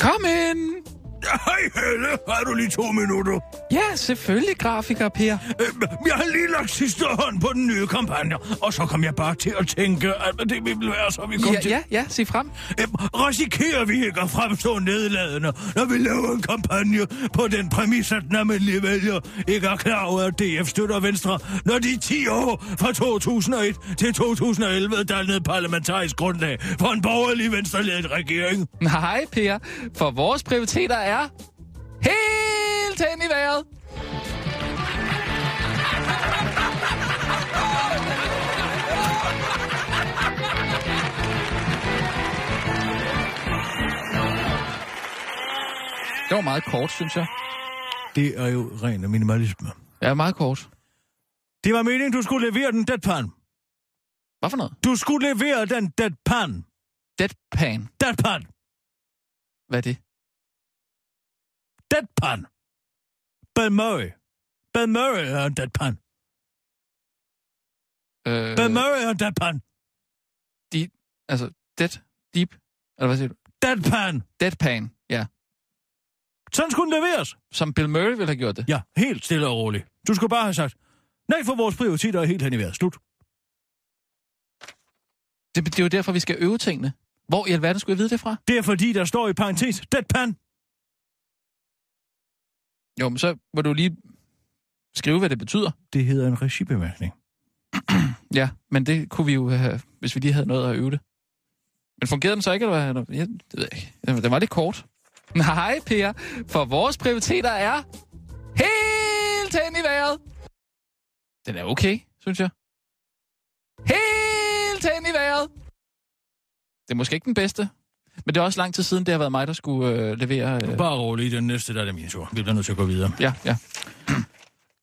Speaker 5: Kom ind!
Speaker 4: Hej Helle, har du lige to minutter?
Speaker 5: Ja, selvfølgelig, grafiker Per.
Speaker 4: Øhm, Jeg har lige lagt sidste hånd på den nye kampagne, og så kom jeg bare til at tænke, at det ville være, så vi kom
Speaker 5: Ja,
Speaker 4: til...
Speaker 5: ja, ja, sig frem.
Speaker 4: Øhm, Risikerer vi ikke at fremstå nedladende, når vi laver en kampagne på den præmis, at den almindelige vælger ikke er klar over, at DF støtter Venstre, når de 10 år fra 2001 til 2011 dannede parlamentarisk grundlag for en borgerlig venstreledet regering?
Speaker 5: Nej, Per, for vores prioriteter er helt hen i vejret. Det var meget kort, synes jeg.
Speaker 4: Det er jo ren minimalisme.
Speaker 5: Ja, meget kort.
Speaker 4: Det var meningen, du skulle levere den deadpan.
Speaker 5: Hvad for noget?
Speaker 4: Du skulle levere den deadpan.
Speaker 5: Deadpan.
Speaker 4: Deadpan.
Speaker 5: Hvad er det?
Speaker 4: Deadpan. Bill Murray. Bill Murray er en deadpan.
Speaker 5: Øh,
Speaker 4: Bill Murray er en deadpan.
Speaker 5: de, altså, dead, deep, eller hvad siger du?
Speaker 4: Deadpan.
Speaker 5: Deadpan, ja.
Speaker 4: Sådan skulle den leveres.
Speaker 5: Som Bill Murray ville have gjort det.
Speaker 4: Ja, helt stille og roligt. Du skulle bare have sagt, nej, for vores prioriteter er helt hen i vejret. Slut.
Speaker 5: Det, det er jo derfor, vi skal øve tingene. Hvor i alverden skulle jeg vide det fra?
Speaker 4: Det er fordi, der står i parentes, deadpan.
Speaker 5: Jo, men så må du lige skrive, hvad det betyder.
Speaker 4: Det hedder en regibemærkning.
Speaker 5: Ja, men det kunne vi jo have, hvis vi lige havde noget at øve det. Men fungerede den så ikke, eller hvad? Ja, det ved jeg ikke. Den- Den var lidt kort. Nej, Per, for vores prioriteter er helt hen i vejret. Den er okay, synes jeg. Helt hen i vejret. Det er måske ikke den bedste, men det er også lang tid siden, det har været mig, der skulle øh, levere... Øh...
Speaker 4: Bare rolig, den næste, der er det min tur. Vi bliver nødt til at gå videre.
Speaker 5: Ja, ja.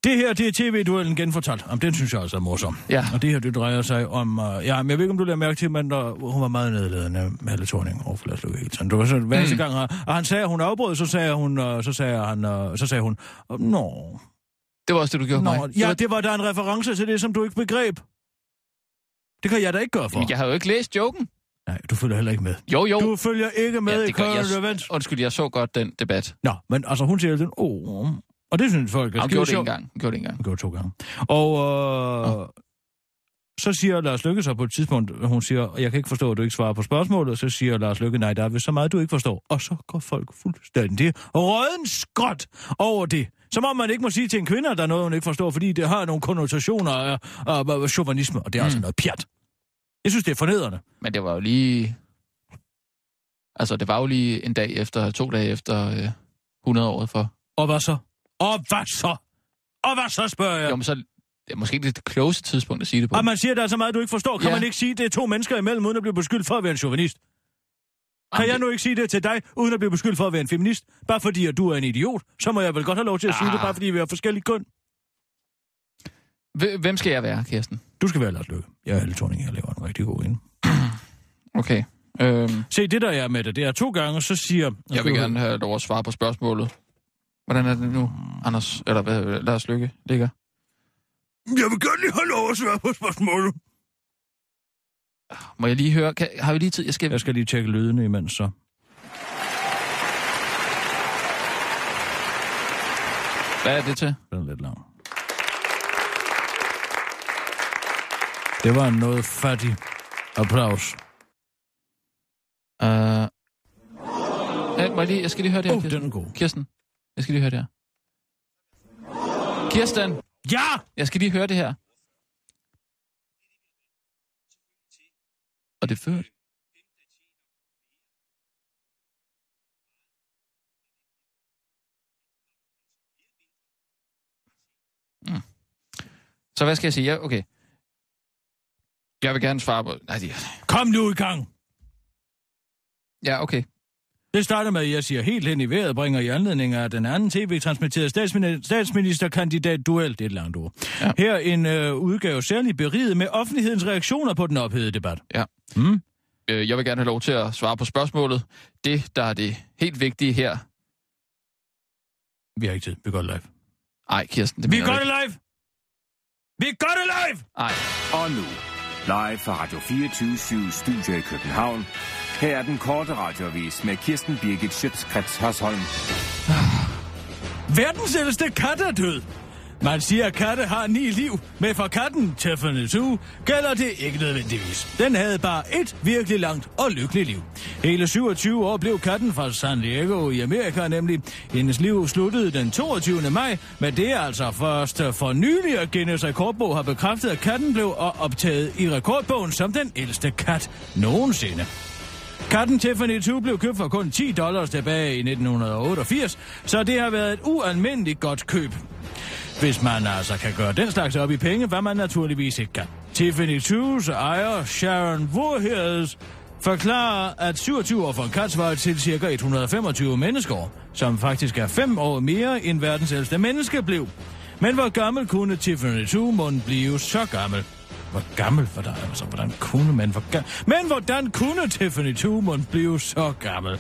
Speaker 4: Det her, det er tv-duellen genfortalt. Jamen, den synes jeg altså er morsom.
Speaker 5: Ja.
Speaker 4: Og det her, det drejer sig om... Uh, ja, men jeg ved ikke, om du lader mærke til, men der, hun var meget nedladende med Helle Thorning over for Lars Løkke Elsen. Det var sådan, hver eneste gang, og- og han sagde, at hun afbrød, så sagde, hun, uh, så sagde, han, uh, så sagde hun, uh, nå,
Speaker 5: Det var også det, du gjorde for
Speaker 4: nå.
Speaker 5: mig.
Speaker 4: Ja, det var da en reference til det, som du ikke begreb. Det kan jeg da ikke gøre for.
Speaker 5: Men jeg har jo ikke læst joken.
Speaker 4: Nej, du følger heller ikke med.
Speaker 5: Jo, jo.
Speaker 4: Du følger ikke med i
Speaker 5: det gør
Speaker 4: Current
Speaker 5: jeg,
Speaker 4: Events.
Speaker 5: Undskyld, jeg så godt den debat.
Speaker 4: Nå, men altså, hun siger hele tiden, åh, oh. og det synes folk er
Speaker 5: Han
Speaker 4: skide
Speaker 5: gjorde det en
Speaker 4: sjovt.
Speaker 5: gang. Han gjorde det en gang.
Speaker 4: Hun gjorde to gange. Og øh, så siger Lars Lykke så på et tidspunkt, hun siger, jeg kan ikke forstå, at du ikke svarer på spørgsmålet. Så siger Lars Lykke, nej, der er vist så meget, du ikke forstår. Og så går folk fuldstændig røden skråt over det. Som om man ikke må sige til en kvinde, at der er noget, hun ikke forstår, fordi det har nogle konnotationer af, af, af chauvinisme, og det er mm. altså noget pjat. Jeg synes, det er fornedrende.
Speaker 5: Men det var jo lige... Altså, det var jo lige en dag efter, to dage efter øh, 100 året for...
Speaker 4: Og hvad så? Og hvad så? Og hvad så, spørger
Speaker 5: Ja.
Speaker 4: jeg?
Speaker 5: Jo, men så det er måske ikke det klogeste tidspunkt at sige det på.
Speaker 4: Og man siger, der er så meget, du ikke forstår. Kan
Speaker 5: Ja.
Speaker 4: ja. man ikke sige, det er to mennesker imellem, uden at blive beskyldt for at være en chauvinist? Kan
Speaker 5: Jamen,
Speaker 4: jeg nu ikke sige det til dig, uden at blive beskyldt for at være en feminist? Bare fordi, at du er en idiot, så må jeg vel godt have lov til at sige det,
Speaker 5: Ah.
Speaker 4: bare fordi vi er forskellige køn.
Speaker 5: Hv- Hvem skal jeg være, Kirsten?
Speaker 4: Du skal være Lars Løkke. Jeg er Helle Thorning, jeg laver en rigtig god ind.
Speaker 5: Okay. Øhm,
Speaker 4: Se, det der er med det, det er to gange, så siger...
Speaker 5: jeg vil gerne have lov at svare på spørgsmålet. Hvordan er det nu, Anders? Eller hvad, øh, Lars Lykke ligger?
Speaker 4: Jeg vil gerne lige have lov at svare på spørgsmålet.
Speaker 5: Må jeg lige høre? Kan, har vi lige tid? Jeg skal...
Speaker 4: Jeg skal lige tjekke lydene imens så.
Speaker 5: Hvad er det til?
Speaker 4: Den er lidt lang. Det var en noget fattig applaus.
Speaker 5: Øh... Øh, må jeg, lige, jeg skal lige høre det her,
Speaker 4: Åh,
Speaker 5: Kirsten.
Speaker 4: den er god.
Speaker 5: Kirsten, jeg skal lige høre det her. Kirsten,
Speaker 4: Ja!
Speaker 5: jeg skal lige høre det her. og det førte. Mm. Så hvad skal jeg sige? Ja, okay. Jeg vil gerne svare på... Nej, det...
Speaker 4: Kom nu i gang!
Speaker 5: Ja, okay.
Speaker 4: Det starter med, at jeg siger helt hen i vejret, bringer i anledning af den anden tv-transmitterede statsmin- statsministerkandidat-duel. Det er et langt ord. Ja. Her en øh, udgave særligt beriget med offentlighedens reaktioner på den ophedede debat.
Speaker 5: Ja.
Speaker 4: Mm?
Speaker 5: Øh, jeg vil gerne have lov til at svare på spørgsmålet. Det, der er det helt vigtige her...
Speaker 4: Vi har ikke tid. Vi går live.
Speaker 5: Ej, Kirsten, det
Speaker 4: Vi
Speaker 5: mener
Speaker 4: gør
Speaker 5: du
Speaker 4: det
Speaker 5: ikke.
Speaker 4: live! Vi gør det live!
Speaker 5: Ej.
Speaker 6: Og nu, live fra Radio 24 Studio i København. Her er den korte radiovis med Kirsten Birgit Schøtzgrads Hasholm.
Speaker 4: Verdens ældste kat er død. Man siger, at katte har ni liv, men for katten, Tiffany Zoo, gælder det ikke nødvendigvis. Den havde bare et virkelig langt og lykkeligt liv. Hele 27 år blev katten fra San Diego i Amerika nemlig. Hendes liv sluttede den 22. maj, men det er altså først for nylig, at Guinness Rekordbog har bekræftet, at katten blev optaget i rekordbogen som den ældste kat nogensinde. Katten Tiffany 2 blev købt for kun 10 dollars tilbage i 1988, så det har været et ualmindeligt godt køb. Hvis man altså kan gøre den slags op i penge, hvad man naturligvis ikke kan. Tiffany 2's ejer Sharon Voorhees forklarer, at 27 år for en kat svarer til ca. 125 menneskeår, som faktisk er 5 år mere end verdens ældste menneske blev. Men hvor gammel kunne Tiffany 2 måtte blive så gammel? Hvor gammel var der? Altså, hvordan kunne man? Hvor ga- Men hvordan kunne Tiffany Tumon blive så gammel?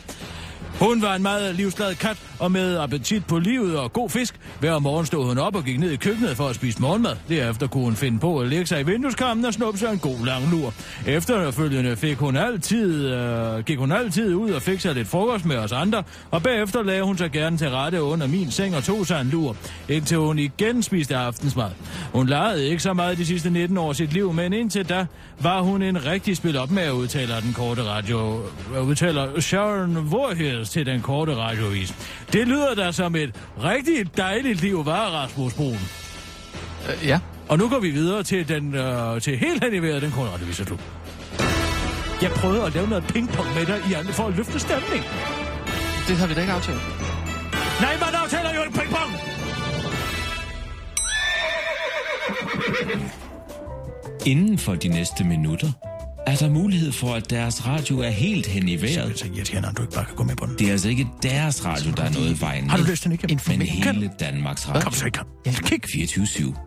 Speaker 4: Hun var en meget livsglad kat, og med appetit på livet og god fisk. Hver morgen stod hun op og gik ned i køkkenet for at spise morgenmad. Derefter kunne hun finde på at lægge sig i vindueskammen og snuppe sig en god lang lur. Efterfølgende fik hun altid, øh, gik hun altid ud og fik sig lidt frokost med os andre, og bagefter lagde hun sig gerne til rette under min seng og tog sig en lur, indtil hun igen spiste aftensmad. Hun legede ikke så meget de sidste 19 år af sit liv, men indtil da var hun en rigtig spil op med, udtaler den korte radio, øh, udtaler Sharon Voorhees til den korte radiovis. Det lyder da som et rigtig dejligt liv, var Rasmus Brun.
Speaker 5: Øh, ja.
Speaker 4: Og nu går vi videre til, den, øh, til helt hen i vejret, den korte radiovis, er du. Jeg prøvede at lave noget pingpong med dig i andre for at løfte stemningen.
Speaker 5: Det har vi da ikke aftalt.
Speaker 4: Nej, man aftaler jo ikke pingpong!
Speaker 12: Inden for de næste minutter er der mulighed for, at deres radio er helt hen i vejret. Det er altså ikke deres radio, der er noget i vejen med.
Speaker 4: Har du lyst til den igen?
Speaker 12: Men hele Danmarks radio.
Speaker 4: Kom så i gang.
Speaker 12: Kig. 24
Speaker 4: Helt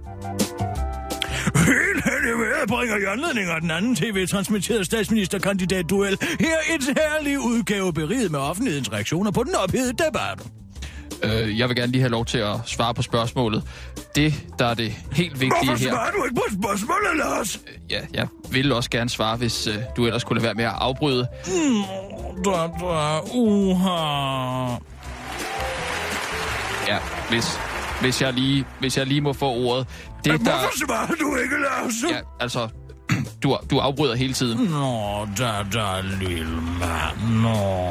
Speaker 4: hen i vejret bringer i anledning af den anden tv-transmitterede statsministerkandidat-duel her en særlig udgave beriget med offentlighedens reaktioner på den ophedede debat.
Speaker 5: Øh, jeg vil gerne lige have lov til at svare på spørgsmålet. Det, der er det helt vigtige
Speaker 4: Hvorfor
Speaker 5: her...
Speaker 4: svarer du ikke på spørgsmålet, Lars?
Speaker 5: Ja, jeg vil også gerne svare, hvis øh, du ellers kunne lade være med at afbryde.
Speaker 4: Mm, da, da, uha.
Speaker 5: Ja, hvis, hvis, jeg, lige, hvis jeg lige må få ordet. Det,
Speaker 4: Men Øh, hvorfor svarer du ikke, Lars?
Speaker 5: Ja, altså, du, du afbryder hele tiden.
Speaker 4: Nå, da, da, lille mand, nå.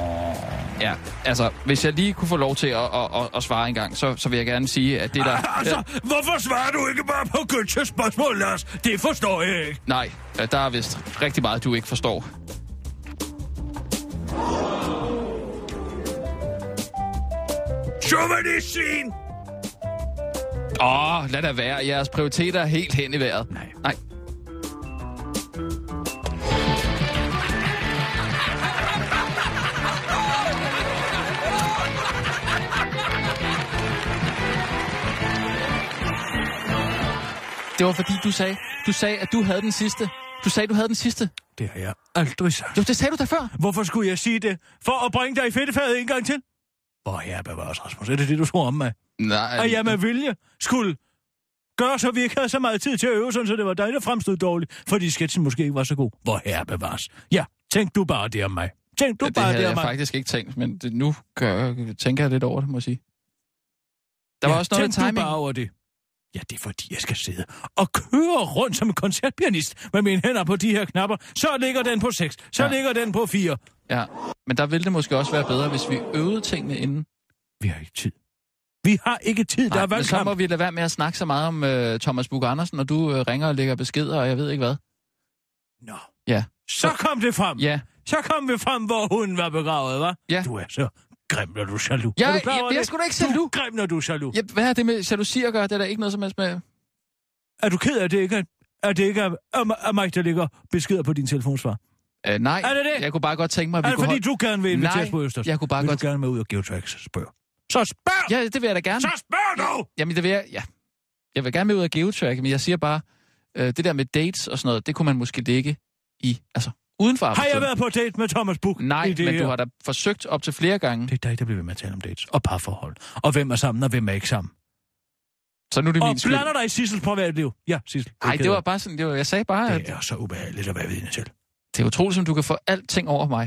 Speaker 5: Ja, altså, hvis jeg lige kunne få lov til at, at, at, at svare en gang, så, så vil jeg gerne sige, at det der...
Speaker 4: Altså, hvorfor svarer du ikke bare på Gøtjes spørgsmål, Lars? Det forstår jeg ikke.
Speaker 5: Nej, øh, der er vist rigtig meget, du ikke forstår.
Speaker 4: Chauvinistsvin!
Speaker 5: Åh, oh, lad da være. Jeres prioriteter er helt hen i vejret. Nej. Nej. Det var fordi, du sagde, du sagde, at du havde den sidste. Du sagde, du havde den sidste.
Speaker 4: Det har jeg aldrig sagt.
Speaker 5: Jo, det sagde du da før.
Speaker 4: Hvorfor skulle jeg sige det? For at bringe dig i fedtefaget en gang til? Hvor herre bevares, Rasmus. Er det det, du tror om mig?
Speaker 5: Nej.
Speaker 4: At jeg med vilje skulle gøre, så vi ikke havde så meget tid til at øve, sådan, så det var dig, der fremstod dårligt, fordi sketchen måske ikke var så god. Hvor herre bevares. Ja, tænk du bare det om mig. Tænk du ja,
Speaker 5: ja, det
Speaker 4: bare
Speaker 5: havde
Speaker 4: det om
Speaker 5: jeg
Speaker 4: mig.
Speaker 5: faktisk ikke tænkt, men det, nu gør, tænker jeg lidt over det, må jeg sige. Der var
Speaker 4: ja,
Speaker 5: også noget
Speaker 4: tænk
Speaker 5: med
Speaker 4: du
Speaker 5: timing.
Speaker 4: bare over det. Ja, det er fordi, jeg skal sidde og køre rundt som en koncertpianist med mine hænder på de her knapper. Så ligger den på 6, så
Speaker 5: Ja.
Speaker 4: ja. ligger den på 4.
Speaker 5: Ja, men der ville det måske også være bedre, hvis vi øvede tingene inden.
Speaker 4: Vi har ikke tid. Vi har ikke tid, der
Speaker 5: Nej,
Speaker 4: er
Speaker 5: men så
Speaker 4: valgkamp.
Speaker 5: må vi lade være med at snakke så meget om øh, Thomas Bug Andersen, når du øh, ringer og lægger beskeder, og jeg ved ikke hvad.
Speaker 4: Nå.
Speaker 5: Ja,
Speaker 4: Så kom det frem.
Speaker 5: Ja.
Speaker 4: Så kom vi frem, hvor hun var begravet, var.
Speaker 5: Ja.
Speaker 4: Du er så grim, når du er jaloux.
Speaker 5: Jeg-
Speaker 4: er du klar
Speaker 5: jeg-
Speaker 4: over
Speaker 5: jeg er
Speaker 4: det?
Speaker 5: sgu da ikke
Speaker 4: Du
Speaker 5: jaloux.
Speaker 4: er grim, når du er jaloux.
Speaker 5: Ja, hvad har det med jalousi at gøre? Det er der ikke noget som helst med...
Speaker 4: Er du ked af det ikke? Er det ikke er, er, er mig, der ligger beskeder på din telefonsvar?
Speaker 5: Øh, nej,
Speaker 4: Er det det?
Speaker 5: jeg kunne bare godt tænke mig, at
Speaker 4: Er
Speaker 5: vi
Speaker 4: det
Speaker 5: kunne
Speaker 4: fordi,
Speaker 5: holde...
Speaker 4: du gerne vil inviteres
Speaker 5: Nej,
Speaker 4: på Østers?
Speaker 5: jeg kunne bare
Speaker 4: vil
Speaker 5: godt-
Speaker 4: du gerne med ud og geotrax? Spørg. Så spørg!
Speaker 5: Ja, det vil jeg da gerne.
Speaker 4: Så spørg dog!
Speaker 5: Jamen, det vil jeg... Ja. Jeg vil gerne med ud og geotrack, men jeg siger bare, øh, det der med dates og sådan noget, det kunne man måske ligge i, altså uden for
Speaker 4: Har jeg
Speaker 5: arbejdstiden.
Speaker 4: været på date med Thomas Buch?
Speaker 5: Nej,
Speaker 4: i det
Speaker 5: men
Speaker 4: her?
Speaker 5: du har da forsøgt op til flere gange.
Speaker 4: Det er dig, der bliver ved med at tale om dates og parforhold. Og hvem er sammen, og hvem er ikke sammen.
Speaker 5: Så nu er det
Speaker 4: Og
Speaker 5: min skyld.
Speaker 4: blander dig i Sissels privatliv. Ja, Sissel.
Speaker 5: Nej, det var bare sådan, det var, jeg sagde bare, at
Speaker 4: Det er så ubehageligt at være vidne til.
Speaker 5: det er utroligt, som du kan få alting over mig.